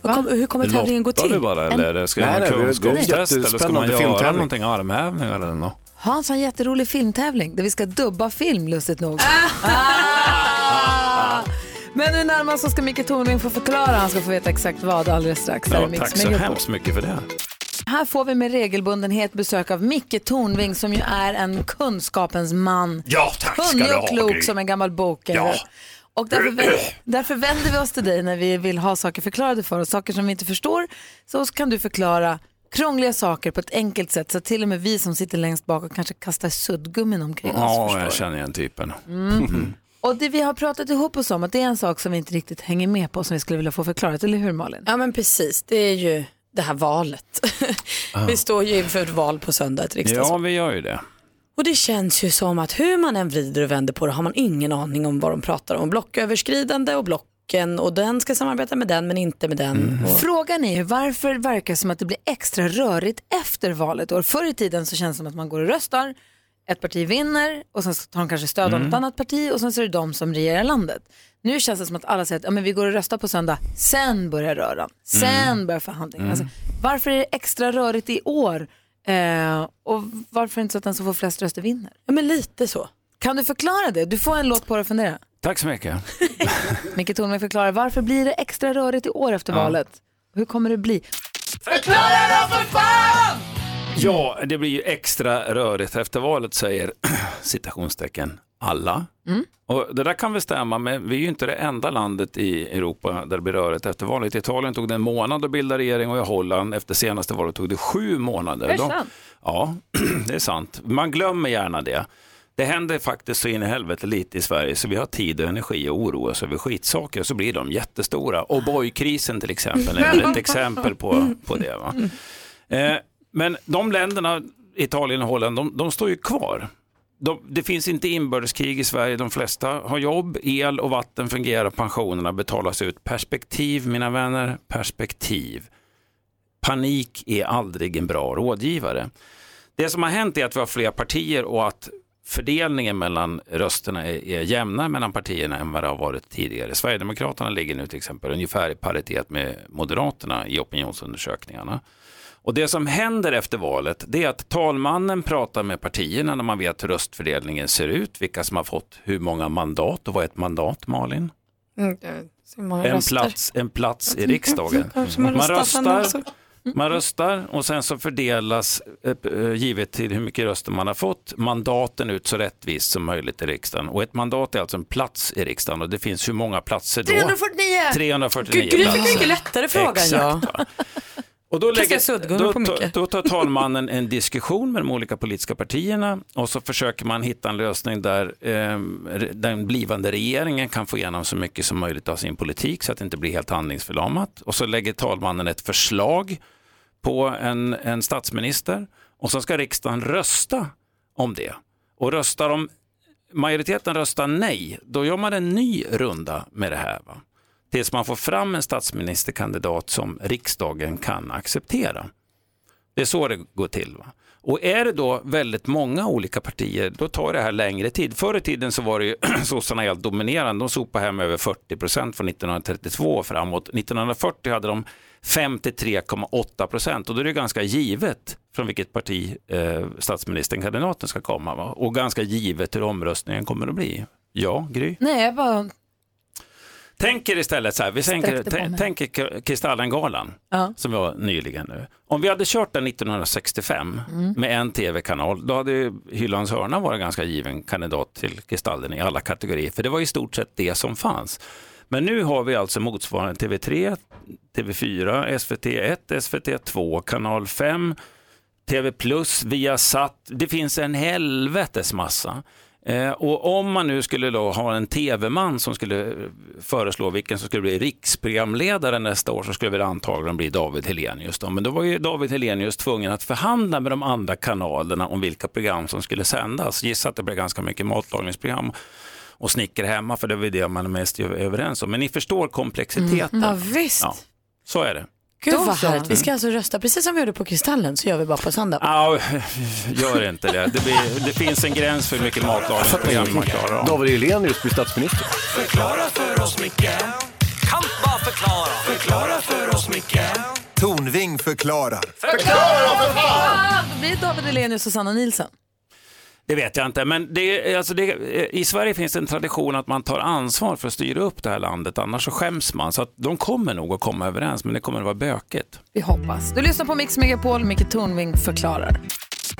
[SPEAKER 2] Vad kom, hur kommer
[SPEAKER 14] Lottar
[SPEAKER 2] tävlingen gå till?
[SPEAKER 14] du bara
[SPEAKER 1] En-
[SPEAKER 14] eller ska
[SPEAKER 3] Nej,
[SPEAKER 14] man
[SPEAKER 3] nej,
[SPEAKER 14] ha
[SPEAKER 3] det är
[SPEAKER 14] kunskapstest eller ska man
[SPEAKER 3] jättespännande
[SPEAKER 14] göra
[SPEAKER 3] filmtävling.
[SPEAKER 14] någonting armhävningar eller något?
[SPEAKER 1] Hans har en jätterolig filmtävling där vi ska dubba film, lustigt nog. Ah! Men nu närmast så ska Micke Tornving få förklara. Han ska få veta exakt vad alldeles strax. Här är
[SPEAKER 14] Ja,
[SPEAKER 1] Mix
[SPEAKER 14] tack så
[SPEAKER 1] Megapol.
[SPEAKER 14] hemskt mycket för det.
[SPEAKER 1] Här får vi med regelbundenhet besök av Micke Tornving som ju är en kunskapens man.
[SPEAKER 6] Ja, tack ska
[SPEAKER 1] Kunnig
[SPEAKER 6] du
[SPEAKER 1] och
[SPEAKER 6] ha,
[SPEAKER 1] klok
[SPEAKER 6] Gry.
[SPEAKER 1] som en gammal bok. eller
[SPEAKER 6] Ja.
[SPEAKER 1] hur? Och därför, vä- därför vänder vi oss till dig när vi vill ha saker förklarade för oss. Saker som vi inte förstår så kan du förklara krångliga saker på ett enkelt sätt så att till och med vi som sitter längst bak och kanske kastar suddgummin omkring oss.
[SPEAKER 14] Ja, jag känner igen typen.
[SPEAKER 1] Mm. Och det vi har pratat ihop oss om att det är en sak som vi inte riktigt hänger med på som vi skulle vilja få förklarat, eller hur Malin?
[SPEAKER 2] Ja men precis, det är ju det här valet.
[SPEAKER 1] Ah.
[SPEAKER 2] Vi står ju inför ett val på söndag, ett riksdags...
[SPEAKER 14] Ja, vi gör ju det.
[SPEAKER 2] Och det känns ju som att hur man än vrider och vänder på det har man ingen aning om vad de pratar om. Blocköverskridande och blocken och den ska samarbeta med den men inte med den.
[SPEAKER 14] Mhm.
[SPEAKER 2] Och...
[SPEAKER 1] Frågan är ju varför verkar det som att det blir extra rörigt efter valet? Och förr i tiden så känns det som att man går och röstar, ett parti vinner och sen så tar de kanske stöd av
[SPEAKER 2] Mm.
[SPEAKER 1] något annat parti och sen så är det de som regerar landet. Nu känns det som att alla säger att ja, men vi går och röstar på söndag, sen börjar röran, sen
[SPEAKER 2] Mm.
[SPEAKER 1] börjar förhandlingen.
[SPEAKER 2] Mm.
[SPEAKER 1] Alltså, varför är det extra rörigt i år eh, och varför är det inte så att den som får flest röster vinner?
[SPEAKER 2] Ja, men lite så.
[SPEAKER 1] Kan du förklara det? Du får en låt på dig att fundera.
[SPEAKER 14] Tack så mycket.
[SPEAKER 1] Micke Tornving förklarar varför blir det extra rörigt i år efter
[SPEAKER 14] Ja.
[SPEAKER 1] valet? Hur kommer det bli?
[SPEAKER 6] Förklara då för fan!
[SPEAKER 14] Ja, det blir ju extra rörigt efter valet säger citationstecken alla.
[SPEAKER 6] Mm.
[SPEAKER 14] Och det där kan väl stämma, men vi är ju inte det enda landet i Europa där det blir rörigt efter valet. I Italien tog det en månad att bilda regering och i Holland efter senaste valet tog det sju månader.
[SPEAKER 6] Är det
[SPEAKER 14] De-
[SPEAKER 6] sant?
[SPEAKER 14] Ja, det är sant. Man glömmer gärna det. Det händer faktiskt så in i helvete lite i Sverige så vi har tid och energi att oroa oss över skitsaker och så blir de jättestora. O'boy-krisen till exempel är väl ett exempel på, på det. Va? Eh, men de länderna, Italien och Holland, de, de står ju kvar. De, det finns inte inbördeskrig i Sverige. De flesta har jobb, el och vatten fungerar, pensionerna betalas ut. Perspektiv, mina vänner, perspektiv. Panik är aldrig en bra rådgivare. Det som har hänt är att vi har fler partier och att fördelningen mellan rösterna är, är jämnare mellan partierna än vad det har varit tidigare. Sverigedemokraterna ligger nu till exempel ungefär i paritet med Moderaterna i opinionsundersökningarna. Och det som händer efter valet det är att talmannen pratar med partierna när man vet hur röstfördelningen ser ut, vilka som har fått hur många mandat och vad är ett mandat Malin?
[SPEAKER 16] Mm,
[SPEAKER 14] en plats, en plats i riksdagen.
[SPEAKER 2] Kanske man
[SPEAKER 14] Man
[SPEAKER 2] röstar sen
[SPEAKER 14] röstar,
[SPEAKER 2] också.
[SPEAKER 14] man röstar och sen så fördelas eh, eh, givet till hur mycket röster man har fått mandaten ut så rättvist som möjligt i riksdagen. Och ett mandat är alltså en plats i riksdagen och det finns hur många platser då?
[SPEAKER 2] 349.
[SPEAKER 14] 349
[SPEAKER 2] Gud, Gry fick
[SPEAKER 14] platser.
[SPEAKER 2] mycket lättare frågan, ja.
[SPEAKER 14] Exakt, va. Och då,
[SPEAKER 2] Kasta
[SPEAKER 14] lägger,
[SPEAKER 2] suddgummi
[SPEAKER 14] då,
[SPEAKER 2] på
[SPEAKER 14] ta-
[SPEAKER 2] Micke.
[SPEAKER 14] då tar talmannen en diskussion med de olika politiska partierna och så försöker man hitta en lösning där ehm, re- den blivande regeringen kan få igenom så mycket som möjligt av sin politik så att det inte blir helt handlingsförlamat. Och så lägger talmannen ett förslag på en, en statsminister och så ska riksdagen rösta om det. Och röstar de majoriteten röstar nej, då gör man en ny runda med det här. Va? Tills man får fram en statsministerkandidat som riksdagen kan acceptera. Det är så det går till. Va? Och är det då väldigt många olika partier, då tar det här längre tid. Förr i tiden så var det ju sossarna helt dominerande. De sopade hem över 40 procent från 1932 och framåt. 1940 hade de 53,8 procent och då är det ganska givet från vilket parti eh, statsministern, kandidaten ska komma. Va? Och ganska givet hur omröstningen kommer att bli. Ja, Gry?
[SPEAKER 1] Nej, jag bara...
[SPEAKER 14] Tänk er istället så här, vi tänker,
[SPEAKER 1] Sträckte på
[SPEAKER 14] tän-
[SPEAKER 1] mig.
[SPEAKER 14] tänk er K- Kristallengalan
[SPEAKER 1] Ja.
[SPEAKER 14] som var nyligen nu. Om vi hade kört den 1965
[SPEAKER 1] Mm.
[SPEAKER 14] med en tv-kanal, då hade ju Hyllans hörna varit ganska given kandidat till Kristallen i alla kategorier, för det var i stort sett det som fanns. Men nu har vi alltså motsvarande TV3, TV4, SVT1, SVT2, Kanal 5, TV+, Viasat. Det finns en helvetes massa. Eh, och om man nu skulle då ha en tv-man som skulle eh, föreslå vilken som skulle bli riksprogramledare nästa år så skulle det väl antagligen bli David Helenius. Då. Men då var ju David Helenius tvungen att förhandla med de andra kanalerna om vilka program som skulle sändas. Gissa att det blev ganska mycket matlagningsprogram och snicker hemma för det var ju det man är mest överens om. Men ni förstår komplexiteten.
[SPEAKER 16] Mm, Ja, visst.
[SPEAKER 14] Ja, så är det.
[SPEAKER 16] Gud
[SPEAKER 14] Då
[SPEAKER 16] vad
[SPEAKER 14] så.
[SPEAKER 16] härligt. Vi ska alltså rösta precis som vi gjorde på Kristallen så gör vi bara på söndag.
[SPEAKER 14] Ja, gör inte det. Det, blir, det finns en gräns för hur mycket matlagningsprogram man klarar av.
[SPEAKER 3] David Helenius blir statsminister.
[SPEAKER 6] Förklara för oss, Micke. Kan bara förklara. Förklara för oss, Micke.
[SPEAKER 11] Tornving förklarar.
[SPEAKER 6] Förklara för fan!
[SPEAKER 1] Då blir det David Hellenius och Sanna Nilsson.
[SPEAKER 14] Det vet jag inte, men det, är- alltså det, i Sverige finns det en tradition att man tar ansvar för att styra upp det här landet, annars så skäms man. Så att de kommer nog att komma överens, men det kommer att vara bökigt.
[SPEAKER 1] Vi hoppas. Du lyssnar på Mix Megapol, Micke Tornving förklarar.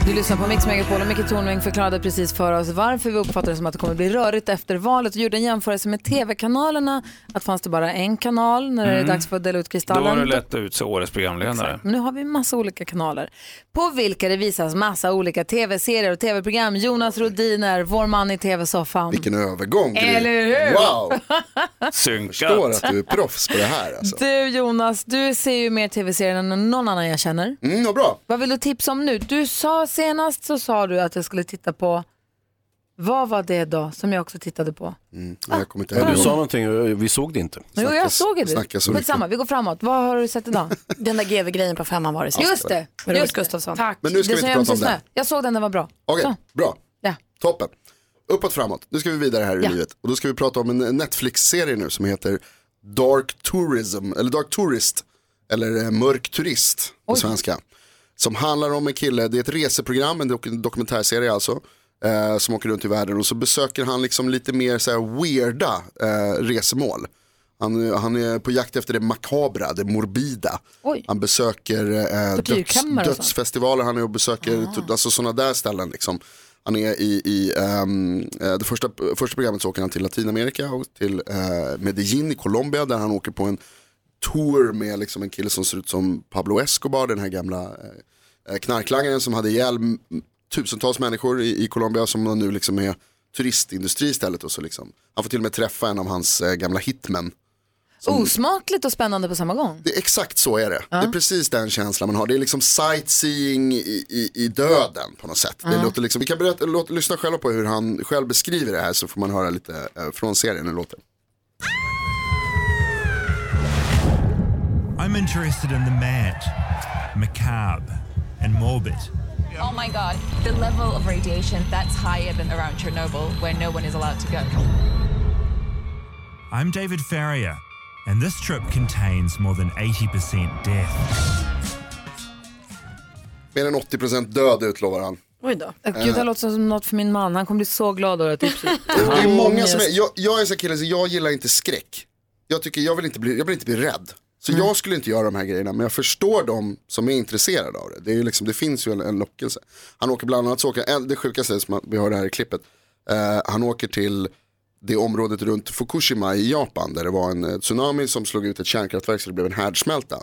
[SPEAKER 1] Du lyssnar på Mix Megapol och Micke Tornving förklarade precis för oss varför vi uppfattar det som att det kommer bli rörigt efter valet och gjorde en jämförelse med tv-kanalerna. Att fanns det bara en kanal när det är
[SPEAKER 14] Mm.
[SPEAKER 1] dags för att dela ut
[SPEAKER 14] Då
[SPEAKER 1] Kristallen.
[SPEAKER 14] har du lätt att utse årets programledare.
[SPEAKER 1] Men nu har vi massa olika kanaler på vilka det visas massa olika tv-serier och tv-program. Jonas Rhodin är vår man i tv-soffan.
[SPEAKER 18] Vilken övergång. Gry.
[SPEAKER 1] Eller hur?
[SPEAKER 18] Wow,
[SPEAKER 14] Synkat.
[SPEAKER 18] förstår att du är proffs på det här alltså.
[SPEAKER 1] Du Jonas, du ser ju mer tv-serier än någon annan jag känner.
[SPEAKER 18] Mm, vad bra.
[SPEAKER 1] Vad vill du tipsa om nu? Du sa senast så sa du att jag skulle titta på, vad var det då som jag också tittade på?
[SPEAKER 18] Mm, jag kommer inte
[SPEAKER 3] Men
[SPEAKER 18] ihåg.
[SPEAKER 3] du sa någonting och vi såg det inte.
[SPEAKER 1] Jo, jag såg ju det.
[SPEAKER 18] snacka så
[SPEAKER 1] Skitsamma, vi går framåt. Vad har du sett idag?
[SPEAKER 16] Den där GV-grejen på femman var det sist.
[SPEAKER 1] Just det,
[SPEAKER 16] Med Robert
[SPEAKER 1] just det.
[SPEAKER 16] Gustafsson.
[SPEAKER 1] Tack.
[SPEAKER 18] Men nu ska
[SPEAKER 1] det
[SPEAKER 18] vi
[SPEAKER 1] som
[SPEAKER 18] inte
[SPEAKER 1] göms
[SPEAKER 18] prata om
[SPEAKER 1] i snö.
[SPEAKER 18] den.
[SPEAKER 1] Jag såg den, den var bra.
[SPEAKER 18] Okej,
[SPEAKER 1] Så.
[SPEAKER 18] bra.
[SPEAKER 1] Ja.
[SPEAKER 18] Toppen. Uppåt framåt. Nu ska vi vidare här i
[SPEAKER 1] Ja.
[SPEAKER 18] livet. Och då ska vi prata om en Netflix-serie nu som heter Dark Tourism, eller Dark Tourist, eller eh, Mörk Turist på svenska. Som handlar om en kille, det är ett reseprogram, en dok- dokumentärserie alltså, eh, som åker runt i världen och så besöker han liksom lite mer så här weirda eh, resemål. Han, han är på jakt efter det makabra, det morbida.
[SPEAKER 1] Oj.
[SPEAKER 18] Han besöker eh, döds,
[SPEAKER 1] Tortyrkammare och sånt. Ah.
[SPEAKER 18] dödsfestivaler, han är och besöker t- alltså, sådana där ställen. Liksom. Han är i, i ehm, eh, det första, första programmet så åker han till Latinamerika och till eh, Medellin i Colombia där han åker på en tour med liksom, en kille som ser ut som Pablo Escobar, den här gamla eh, knarklangaren som hade ihjäl m- tusentals människor i, i Colombia som nu liksom är turistindustri istället. Och så liksom. Han får till och med träffa en av hans eh, gamla hitmen.
[SPEAKER 1] Osmakligt och spännande på samma gång.
[SPEAKER 18] Det, exakt så är det. Det är precis den känslan man har. Det är liksom sightseeing i, i, i döden på något sätt. Det
[SPEAKER 1] Ja.
[SPEAKER 18] låter liksom, vi kan berätta, låt, lyssna själva på hur han själv beskriver det här så får man höra lite eh, från serien hur det låter.
[SPEAKER 19] I'm interested in the mad, macabre, and morbid.
[SPEAKER 20] Oh my god, the level of radiation that's higher than around Chernobyl, where no one is allowed to go.
[SPEAKER 19] I'm David Ferrier, and this trip contains more than 80% death.
[SPEAKER 18] Mer än 80% död utlovar han.
[SPEAKER 1] Oj då. Gud,
[SPEAKER 18] Eh.
[SPEAKER 1] det låter som något för min man. Han kommer bli så glad över att du
[SPEAKER 18] Det är många som är, jag, jag är en sån kille så jag gillar inte skräck. Jag tycker jag vill inte bli, jag vill inte bli rädd. Så jag skulle inte göra de här grejerna men jag förstår de som är intresserade av det. Det, är ju liksom, det finns ju en, en lockelse. Han åker bland annat, så åker, en- det sjukaste som vi hörde här i klippet, eh, han åker till det området runt Fukushima i Japan där det var en eh, tsunami som slog ut ett kärnkraftverk så det blev en härdsmälta.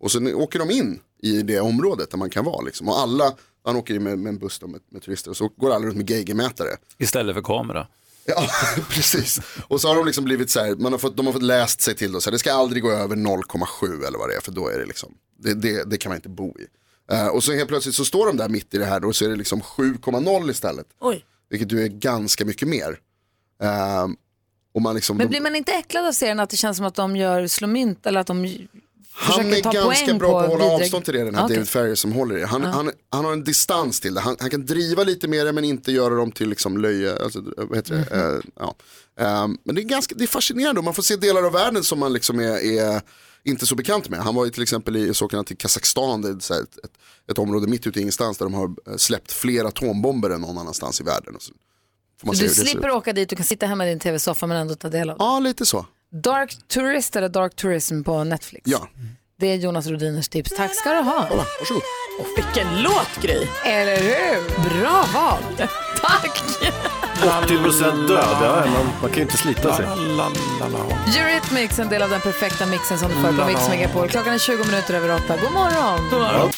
[SPEAKER 18] Och sen åker de in i det området där man kan vara. Liksom. Och alla, han åker in med, med en buss då, med, med turister och så går alla runt med geigermätare.
[SPEAKER 14] Istället för kamera.
[SPEAKER 18] Ja, precis. Och så har de liksom blivit så här, man har fått, de har fått läst sig till då, så här, det ska aldrig gå över 0,7 eller vad det är, för då är det liksom, det, det, det kan man inte bo i. Eh, och så helt plötsligt så står de där mitt i det här då, och så är det liksom 7,0 istället.
[SPEAKER 16] Oj.
[SPEAKER 18] vilket du är ganska mycket mer. Ehm, och man liksom,
[SPEAKER 1] Men blir man inte äcklad av serien att det känns som att de gör slumint eller att de j-
[SPEAKER 18] han
[SPEAKER 1] försöker
[SPEAKER 18] är
[SPEAKER 1] ta
[SPEAKER 18] ganska
[SPEAKER 1] poäng
[SPEAKER 18] bra på att hålla
[SPEAKER 1] vidrig-
[SPEAKER 18] avstånd till det, den här
[SPEAKER 1] Okej.
[SPEAKER 18] David Ferrier som håller i det. Han,
[SPEAKER 1] Ja.
[SPEAKER 18] han, han har en distans till det. Han, han kan driva lite med det men inte göra dem till liksom löje. Alltså, vad heter det?
[SPEAKER 1] Mhm.
[SPEAKER 18] Eh, ja. Ehm, men det är, ganska, det är fascinerande och man får se delar av världen som man liksom är, är inte så bekant med. Han var ju till exempel i, så åkte han till Kazakstan, det är så här ett, ett, ett område mitt ute i ingenstans där de har eh, släppt fler atombomber än någon annanstans i världen. Och så får man
[SPEAKER 1] Så
[SPEAKER 18] se
[SPEAKER 1] du
[SPEAKER 18] hur det ser
[SPEAKER 1] slipper
[SPEAKER 18] ut.
[SPEAKER 1] åka dit, du kan sitta hemma i din tv-soffa men ändå ta del av det.
[SPEAKER 18] Ja, lite så.
[SPEAKER 1] Dark Tourist eller Dark Tourism på Netflix.
[SPEAKER 18] Ja.
[SPEAKER 1] Det är Jonas Rodiners tips. Tack ska du ha. Kolla,
[SPEAKER 18] varsågod.
[SPEAKER 1] Och vilken låt, Gry. Eller hur? Bra val. Tack.
[SPEAKER 3] 80% död, ja, man, man kan ju inte slita sig.
[SPEAKER 1] Eurythmics, en del av den perfekta mixen som du får
[SPEAKER 18] Mm.
[SPEAKER 1] på Mix Megapol. Klockan är 20 minuter över 8. God morgon. God
[SPEAKER 3] morgon.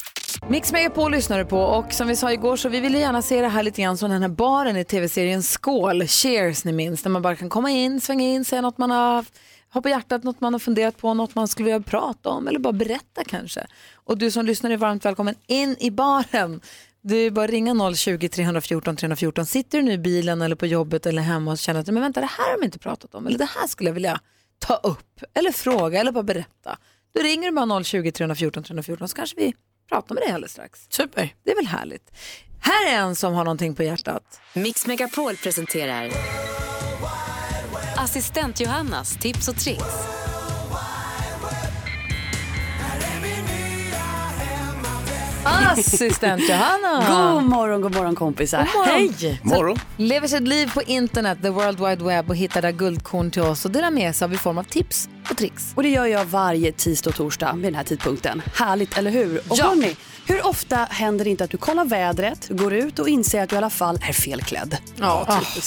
[SPEAKER 1] Mix Megapol lyssnar du på och som vi sa igår så vi ville gärna se det här lite grann som den här baren i tv-serien Skål, Cheers ni minns, där man bara kan komma in, svänga in, säga något man har, har på hjärtat, något man har funderat på, något man skulle vilja prata om eller bara berätta kanske. Och du som lyssnar är varmt välkommen in i baren. Du är bara att ringa 020-314 314. Sitter du nu i bilen eller på jobbet eller hemma och känner att men vänta det här har de inte pratat om eller det här skulle jag vilja ta upp eller fråga eller bara berätta. Då ringer du bara 020-314 314 så kanske vi pratar med dig alldeles strax. Super. Det är väl härligt. Här är en som har någonting på hjärtat.
[SPEAKER 21] Mix Megapol presenterar Assistent Johannas tips och tricks.
[SPEAKER 1] Assistent Johanna.
[SPEAKER 16] God morgon, god morgon kompisar.
[SPEAKER 1] God morgon.
[SPEAKER 16] Hej!
[SPEAKER 1] Som Lever sitt liv på internet, the world wide web och hittar där guldkorn till oss och delar med sig av i form av tips och tricks.
[SPEAKER 16] Och det gör jag varje tisdag och torsdag vid den här tidpunkten. Härligt, eller hur? Och
[SPEAKER 1] Ja.
[SPEAKER 16] hörni, hur ofta händer det inte att du kollar vädret, går ut och inser att du i alla fall är felklädd?
[SPEAKER 1] Ah,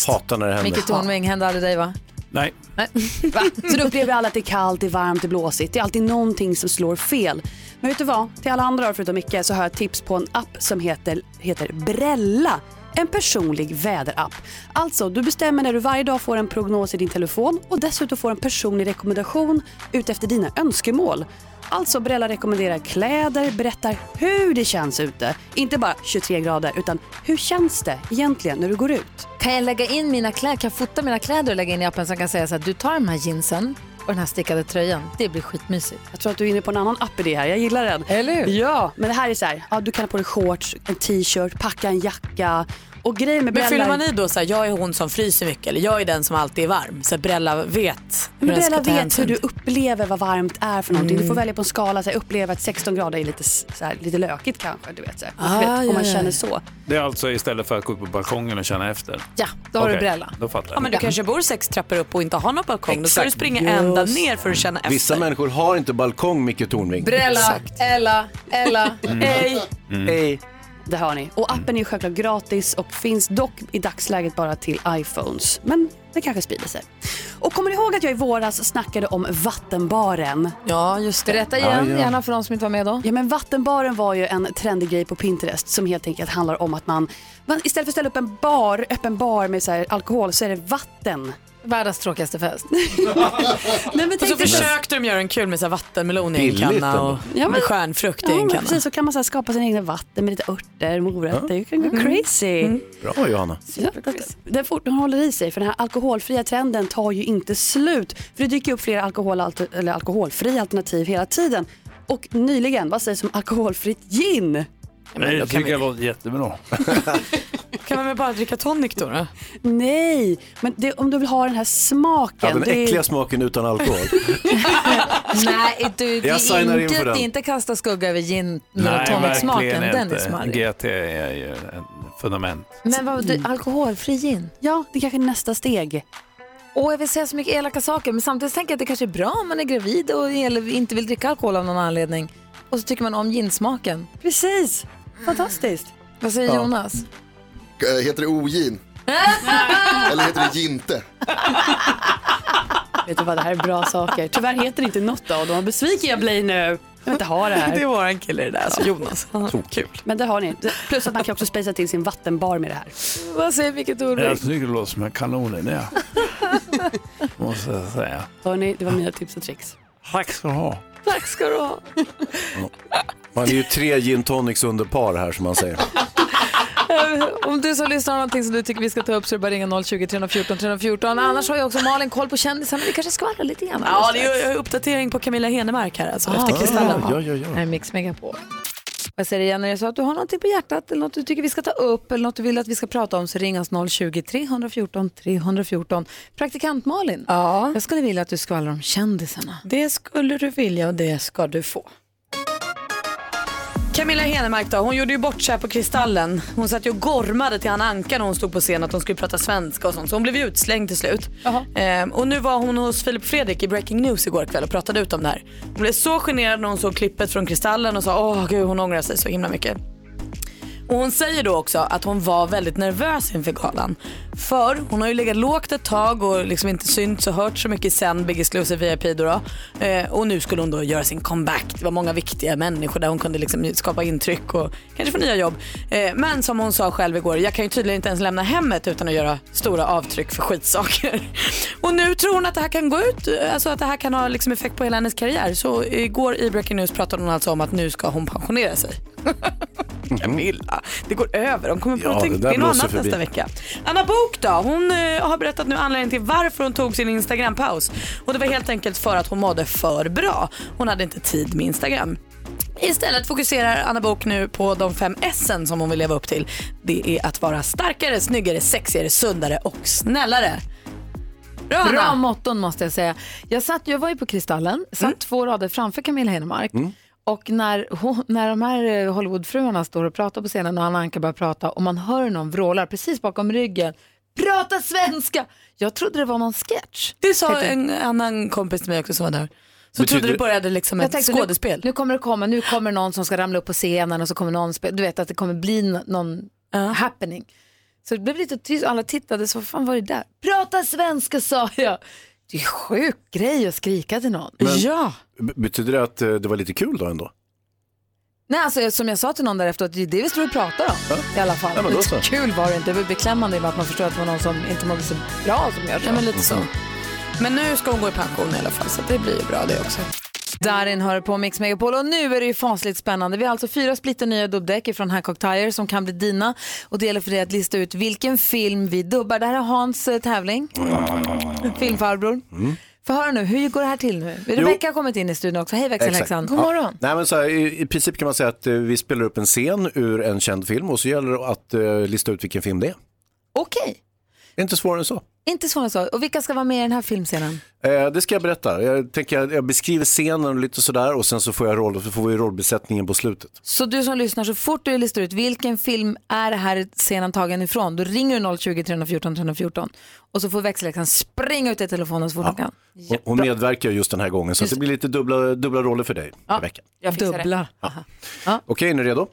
[SPEAKER 3] Hatar när det händer.
[SPEAKER 1] Micke Tornving, hände aldrig dig va?
[SPEAKER 14] Nej.
[SPEAKER 16] Va? Så då upplever alla att det är kallt, det är varmt, det är blåsigt. Det är alltid någonting som slår fel. Men vet du vad? Till alla andra förutom Micke så har jag ett tips på en app som heter, heter Brella. En personlig väderapp. Alltså, du bestämmer när du varje dag får en prognos i din telefon och dessutom får en personlig rekommendation utefter dina önskemål. Alltså Brella rekommenderar kläder, berättar hur det känns ute. Inte bara 23 grader, utan hur känns det egentligen när du går ut?
[SPEAKER 1] Kan jag lägga in mina kläder, kan jag fota mina kläder och lägga in i appen som kan säga så att du tar de här jeansen och den här stickade tröjan. Det blir skitmysigt.
[SPEAKER 16] Jag tror att du är inne på en annan app i det här. Jag gillar den.
[SPEAKER 1] Eller hur?
[SPEAKER 16] Ja, men det här är så här. Ja, du kan ha på dig shorts, en t-shirt, packa en jacka. Och grejen med
[SPEAKER 2] Men fyller
[SPEAKER 16] brallor-
[SPEAKER 2] man i då så här, jag är hon som fryser mycket eller jag är den som alltid är varm. Så att Brella vet hur
[SPEAKER 16] Men
[SPEAKER 2] den
[SPEAKER 16] Bella
[SPEAKER 2] ska ta
[SPEAKER 16] vet hur
[SPEAKER 2] hänsyn.
[SPEAKER 16] du upplever vad varmt är för någonting.
[SPEAKER 2] Mm.
[SPEAKER 16] Du får välja på en skala. Så här, upplever att 16 grader är lite, s- så här, lite lökigt kanske. Du vet, så här.
[SPEAKER 2] Ah,
[SPEAKER 16] du vet,
[SPEAKER 2] ja,
[SPEAKER 16] om man
[SPEAKER 2] ja,
[SPEAKER 16] känner
[SPEAKER 2] ja.
[SPEAKER 16] så.
[SPEAKER 14] Det är alltså istället för att gå upp på balkongen och känna efter?
[SPEAKER 1] Ja,
[SPEAKER 16] då har du
[SPEAKER 14] Okej,
[SPEAKER 16] Brella.
[SPEAKER 14] Då fattar jag.
[SPEAKER 2] Ja, men du kanske bor sex trappor upp och inte har någon balkong. Då ska du
[SPEAKER 3] Exakt.
[SPEAKER 2] springa
[SPEAKER 3] Just.
[SPEAKER 2] ända ner för att känna efter.
[SPEAKER 3] Vissa människor har inte balkong, Micke Tornving.
[SPEAKER 1] Ella, Ella,
[SPEAKER 3] Mm. Ey. Mm. Ey.
[SPEAKER 16] Det hör ni. Och appen är självklart gratis och finns dock i dagsläget bara till iPhones. Men det kanske sprider sig. Och kommer ni ihåg att jag i våras snackade om vattenbaren?
[SPEAKER 2] Ja, just det.
[SPEAKER 1] Berätta igen, Ah, ja. gärna för de som inte var med då.
[SPEAKER 16] Ja, men vattenbaren var ju en trendig grej på Pinterest som helt enkelt handlar om att man, man istället för att ställa upp en bar, öppen bar med så här alkohol så är det vatten.
[SPEAKER 1] Världens tråkigaste fest.
[SPEAKER 16] Nej, men
[SPEAKER 2] och så
[SPEAKER 16] tänk dig-
[SPEAKER 2] försökte de göra en kul med så här vattenmelon i en
[SPEAKER 16] Billigt
[SPEAKER 2] kanna
[SPEAKER 16] ändå.
[SPEAKER 2] och
[SPEAKER 16] Ja, men-
[SPEAKER 2] med stjärnfrukt i
[SPEAKER 16] Ja,
[SPEAKER 2] en
[SPEAKER 16] men
[SPEAKER 2] kanna.
[SPEAKER 16] precis, så kan man så här skapa sina egna vatten med lite örter, morötter. You can go crazy.
[SPEAKER 3] Bra Johanna.
[SPEAKER 16] Ja, Den fort- den håller i sig, för den här alkoholfria trenden tar ju inte slut. För det dyker upp flera alkohol, alter- eller alkoholfria alternativ hela tiden. Och nyligen, vad sägs om alkoholfritt gin?
[SPEAKER 14] Nej, jag tycker jag låter jättebra.
[SPEAKER 16] Kan man väl bara dricka tonic då? Nej, men det, om du vill ha den här smaken.
[SPEAKER 3] Ja, den
[SPEAKER 16] det är-
[SPEAKER 3] äckliga smaken utan alkohol.
[SPEAKER 1] Nej, du, det,
[SPEAKER 3] Jag signar
[SPEAKER 1] är
[SPEAKER 3] in
[SPEAKER 1] inte,
[SPEAKER 3] för
[SPEAKER 1] det
[SPEAKER 3] den.
[SPEAKER 1] är inte kasta skugga över gin
[SPEAKER 14] Nej,
[SPEAKER 1] eller tonicsmaken.
[SPEAKER 14] verkligen
[SPEAKER 1] Den är
[SPEAKER 14] inte.
[SPEAKER 1] smarrig.
[SPEAKER 14] GT är ju ett fundament.
[SPEAKER 1] Men vad, du, alkoholfri gin?
[SPEAKER 16] Alltså, mm. Ja, det kanske är nästa steg.
[SPEAKER 1] Och jag vill säga så mycket elaka saker, men samtidigt tänker jag att det kanske är bra om man är gravid och eller inte vill dricka alkohol av någon anledning. Och så tycker man om ginsmaken.
[SPEAKER 16] Precis, fantastiskt.
[SPEAKER 1] Vad säger
[SPEAKER 18] Ja.
[SPEAKER 1] Jonas?
[SPEAKER 18] Eh, Heter det ogin?
[SPEAKER 1] Ah!
[SPEAKER 18] Eller heter det ginte?
[SPEAKER 16] Vet du vad, det här är bra saker. Tyvärr heter det inte något av dem. Vad besviken jag blir nu. Jag vill inte ha det här.
[SPEAKER 2] Det är våran kille det där, alltså Jonas.
[SPEAKER 14] Kul.
[SPEAKER 16] Men det har ni. Plus att man kan också spacea till sin vattenbar med det här.
[SPEAKER 1] Vad säger Micke Tornving?
[SPEAKER 14] Jag tycker det låter som en kanon i det. Måste jag säga.
[SPEAKER 16] Hörni, det var mina tips och tricks.
[SPEAKER 14] Tack ska du ha.
[SPEAKER 1] Tack ska du ha.
[SPEAKER 3] Man är ju tre gin tonics under par här som man säger.
[SPEAKER 1] Eh, Om du som lyssnar har någonting som du tycker vi ska ta upp så är det bara ringa 020 314 314. Annars har jag också Malin koll på kändisarna. Vi kanske skvallrar lite grann.
[SPEAKER 2] Ja, det är ju uppdatering på Camilla Henemark här
[SPEAKER 16] Ah.
[SPEAKER 2] alltså, efter Kristallen.
[SPEAKER 1] Ja, ja, ja. Mix Megapol. Jag säger det igen, när det är så att du har någonting på hjärtat eller något du tycker vi ska ta upp eller något du vill att vi ska prata om så ring oss 020-314 314. Praktikant Malin, ja. jag skulle vilja att du skvallrar om kändisarna.
[SPEAKER 2] Det skulle du vilja och det ska du få. Camilla Henemark då, hon gjorde ju bort sig här på Kristallen. Hon satt ju och gormade till han Anka när hon stod på scen att hon skulle prata svenska och sånt. Så hon blev ju utslängd till slut. Ehm, och nu var hon hos Filip Fredrik i Breaking News igår kväll och pratade ut om det här. Hon blev så generad när hon såg klippet från Kristallen och sa åh gud hon ångrar sig så himla mycket. Och hon säger då också att hon var väldigt nervös inför galan. För hon har ju legat lågt ett tag och liksom inte synts och hört så mycket sen Big Exclusive VIP då. då. Eh, och nu skulle hon då göra sin comeback. Det var många viktiga människor där hon kunde liksom skapa intryck och kanske få nya jobb. Eh, men som hon sa själv igår, jag kan ju tydligen inte ens lämna hemmet utan att göra stora avtryck för skitsaker. och nu tror hon att det här kan gå ut, alltså att det här kan ha liksom effekt på hela hennes karriär. Så igår i Breaking News pratade hon alltså om att nu ska hon pensionera sig. Camilla. Det går över. De kommer på
[SPEAKER 6] Ja,
[SPEAKER 2] ja,
[SPEAKER 6] det där
[SPEAKER 2] det är något
[SPEAKER 6] blåser
[SPEAKER 2] annat
[SPEAKER 6] förbi.
[SPEAKER 2] nästa vecka. Anna Bok då? Hon eh, har berättat nu anledningen till varför hon tog sin Instagram-paus. Och det var helt enkelt för att hon mådde för bra. Hon hade inte tid med Instagram. Istället fokuserar Anna Bok nu på de fem S som hon vill leva upp till. Det är att vara starkare, snyggare, sexigare, sundare och snällare. Bra, Anna.
[SPEAKER 1] Bra motton måste jag säga. Jag, satt, jag var ju på Kristallen, satt
[SPEAKER 2] Mm.
[SPEAKER 1] två rader framför Camilla Henemark. Och när, hon, när de här eh, Hollywoodfruarna står och pratar på scenen och Anna Anka börjar prata och man hör någon vrålar precis bakom ryggen. Prata svenska! Jag trodde det var någon sketch.
[SPEAKER 2] Det sa en annan kompis till mig också som var där. Så
[SPEAKER 1] Betyder-
[SPEAKER 2] trodde det började liksom
[SPEAKER 1] Jag
[SPEAKER 2] ett
[SPEAKER 1] tänkte,
[SPEAKER 2] skådespel.
[SPEAKER 1] Nu, nu kommer det komma, nu kommer någon som ska ramla upp på scenen och så kommer någon, spe- du vet att det kommer bli n- någon happening. Så det blev lite tyst, alla tittade, så vad fan var det där? Prata svenska sa jag. Det är en sjuk grej att skrika till någon.
[SPEAKER 3] Men- B- Betyder det att eh, det var lite kul då ändå?
[SPEAKER 1] Nej, alltså, som jag sa till någon där efteråt, det är det vi står och pratar om i alla fall.
[SPEAKER 3] Ja, men då så.
[SPEAKER 1] Kul var det inte, det var beklämmande i och med att man förstår att det var någon som inte mådde så bra som gör så.
[SPEAKER 2] Ja, men lite så.
[SPEAKER 6] Mm.
[SPEAKER 2] Men nu ska hon gå i pension i alla fall så det blir ju bra det också.
[SPEAKER 1] Darin hör på Mix Megapol och nu är det ju fasligt spännande. Vi har alltså fyra splitter nya dubbdäck från Hancock Tire som kan bli dina och det gäller för dig att lista ut vilken film vi dubbar. Det här är Hans eh, tävling, filmfarbror.
[SPEAKER 3] Mm.
[SPEAKER 1] Få höra nu, hur går det här till nu? Rebecka har kommit in i studion också. Hej växelhäxan.
[SPEAKER 3] Exakt. Ja. Nej, men så här, i, I princip kan man säga att eh, vi spelar upp en scen ur en känd film och så gäller det att eh, lista ut vilken film det är.
[SPEAKER 1] Okej,
[SPEAKER 3] Det är inte svårare än så.
[SPEAKER 1] inte svårare än så. Och vilka ska vara med i den här filmscenen?
[SPEAKER 3] Eh, det ska jag berätta. Jag, tänker, jag, jag beskriver scenen och lite sådär och sen så får, jag roll, så får vi rollbesättningen på slutet.
[SPEAKER 1] Så du som lyssnar, så fort du listar ut vilken film är det här scenen tagen ifrån, då ringer du 020 314 314 och så får växelläxan springa ut till telefonen så fort hon kan.
[SPEAKER 3] Hon, hon medverkar just den här gången så att det blir lite dubbla, dubbla roller för dig.
[SPEAKER 1] Ja.
[SPEAKER 3] Rebecka.
[SPEAKER 1] Jag fixar Dubbla.
[SPEAKER 3] Okej, är ni redo?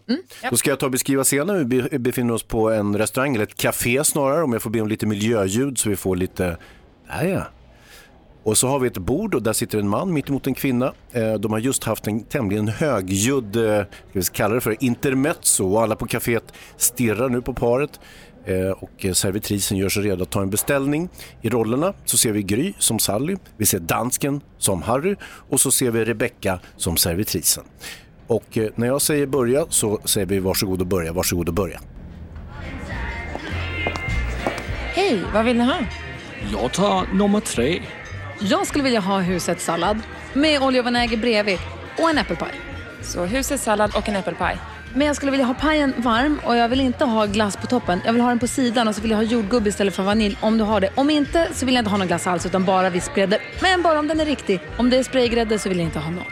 [SPEAKER 3] Då ska jag ta och beskriva scenen. Vi be- befinner oss på en restaurang, eller ett café snarare, om jag får be om lite miljöljud så vi får lite... Där ja. Och så har vi ett bord och där sitter en man mitt emot en kvinna. Eh, De har just haft en tämligen högljudd, eh, ska vi kalla det för, intermezzo och alla på kaféet stirrar nu på paret. Eh, Och servitrisen gör sig redo att ta en beställning. I rollerna så ser vi Gry som Sally, vi ser dansken som Harry och så ser vi Rebecca som servitrisen. Och eh, när jag säger börja så säger vi varsågod och börja, varsågod och börja.
[SPEAKER 20] Hej, vad vill ni ha?
[SPEAKER 22] Jag tar nummer tre.
[SPEAKER 1] Jag skulle vilja ha husets sallad med olja och vinäger bredvid och en äppelpaj.
[SPEAKER 20] Så husets sallad och en äppelpaj.
[SPEAKER 1] Men jag skulle vilja ha pajen varm och jag vill inte ha glass på toppen. Jag vill ha den på sidan och så vill jag ha jordgubb istället för vanilj om du har det. Om inte så vill jag inte ha någon glass alls utan bara vispgrädde. Men bara om den är riktig. Om det är spraygrädde så vill jag inte ha något.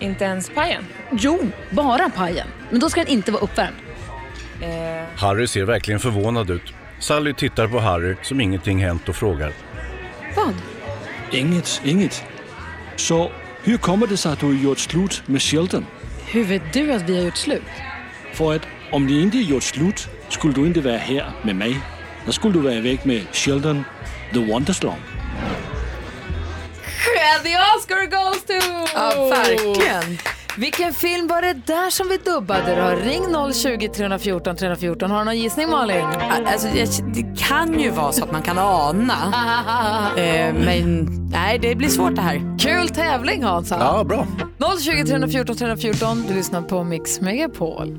[SPEAKER 20] Inte ens pajen?
[SPEAKER 1] Jo, bara pajen. Men då ska den inte vara uppvärmd.
[SPEAKER 20] Eh,
[SPEAKER 23] Harry ser verkligen förvånad ut. Sally tittar på Harry som ingenting hänt och frågar.
[SPEAKER 1] Vad?
[SPEAKER 22] Inget, inget. Så hur kommer det sig att du gjort slut med Sheldon?
[SPEAKER 1] Hur vet du att vi har gjort slut?
[SPEAKER 22] För att om ni inte gjort slut skulle du inte vara här med mig. Då skulle du vara iväg med Sheldon, the Wonderslong.
[SPEAKER 1] The Oscar goes to... Ja,
[SPEAKER 2] verkligen.
[SPEAKER 1] Vilken film var det där som vi dubbade då? Ring 020 314 314. Har du någon gissning Malin?
[SPEAKER 2] Alltså, jag- det kan ju vara så att man kan ana. Eh, men nej, det blir svårt det här.
[SPEAKER 1] Kul tävling Hansa.
[SPEAKER 3] Ja, bra.
[SPEAKER 1] 020 314 314. Du lyssnar på Mix Megapol.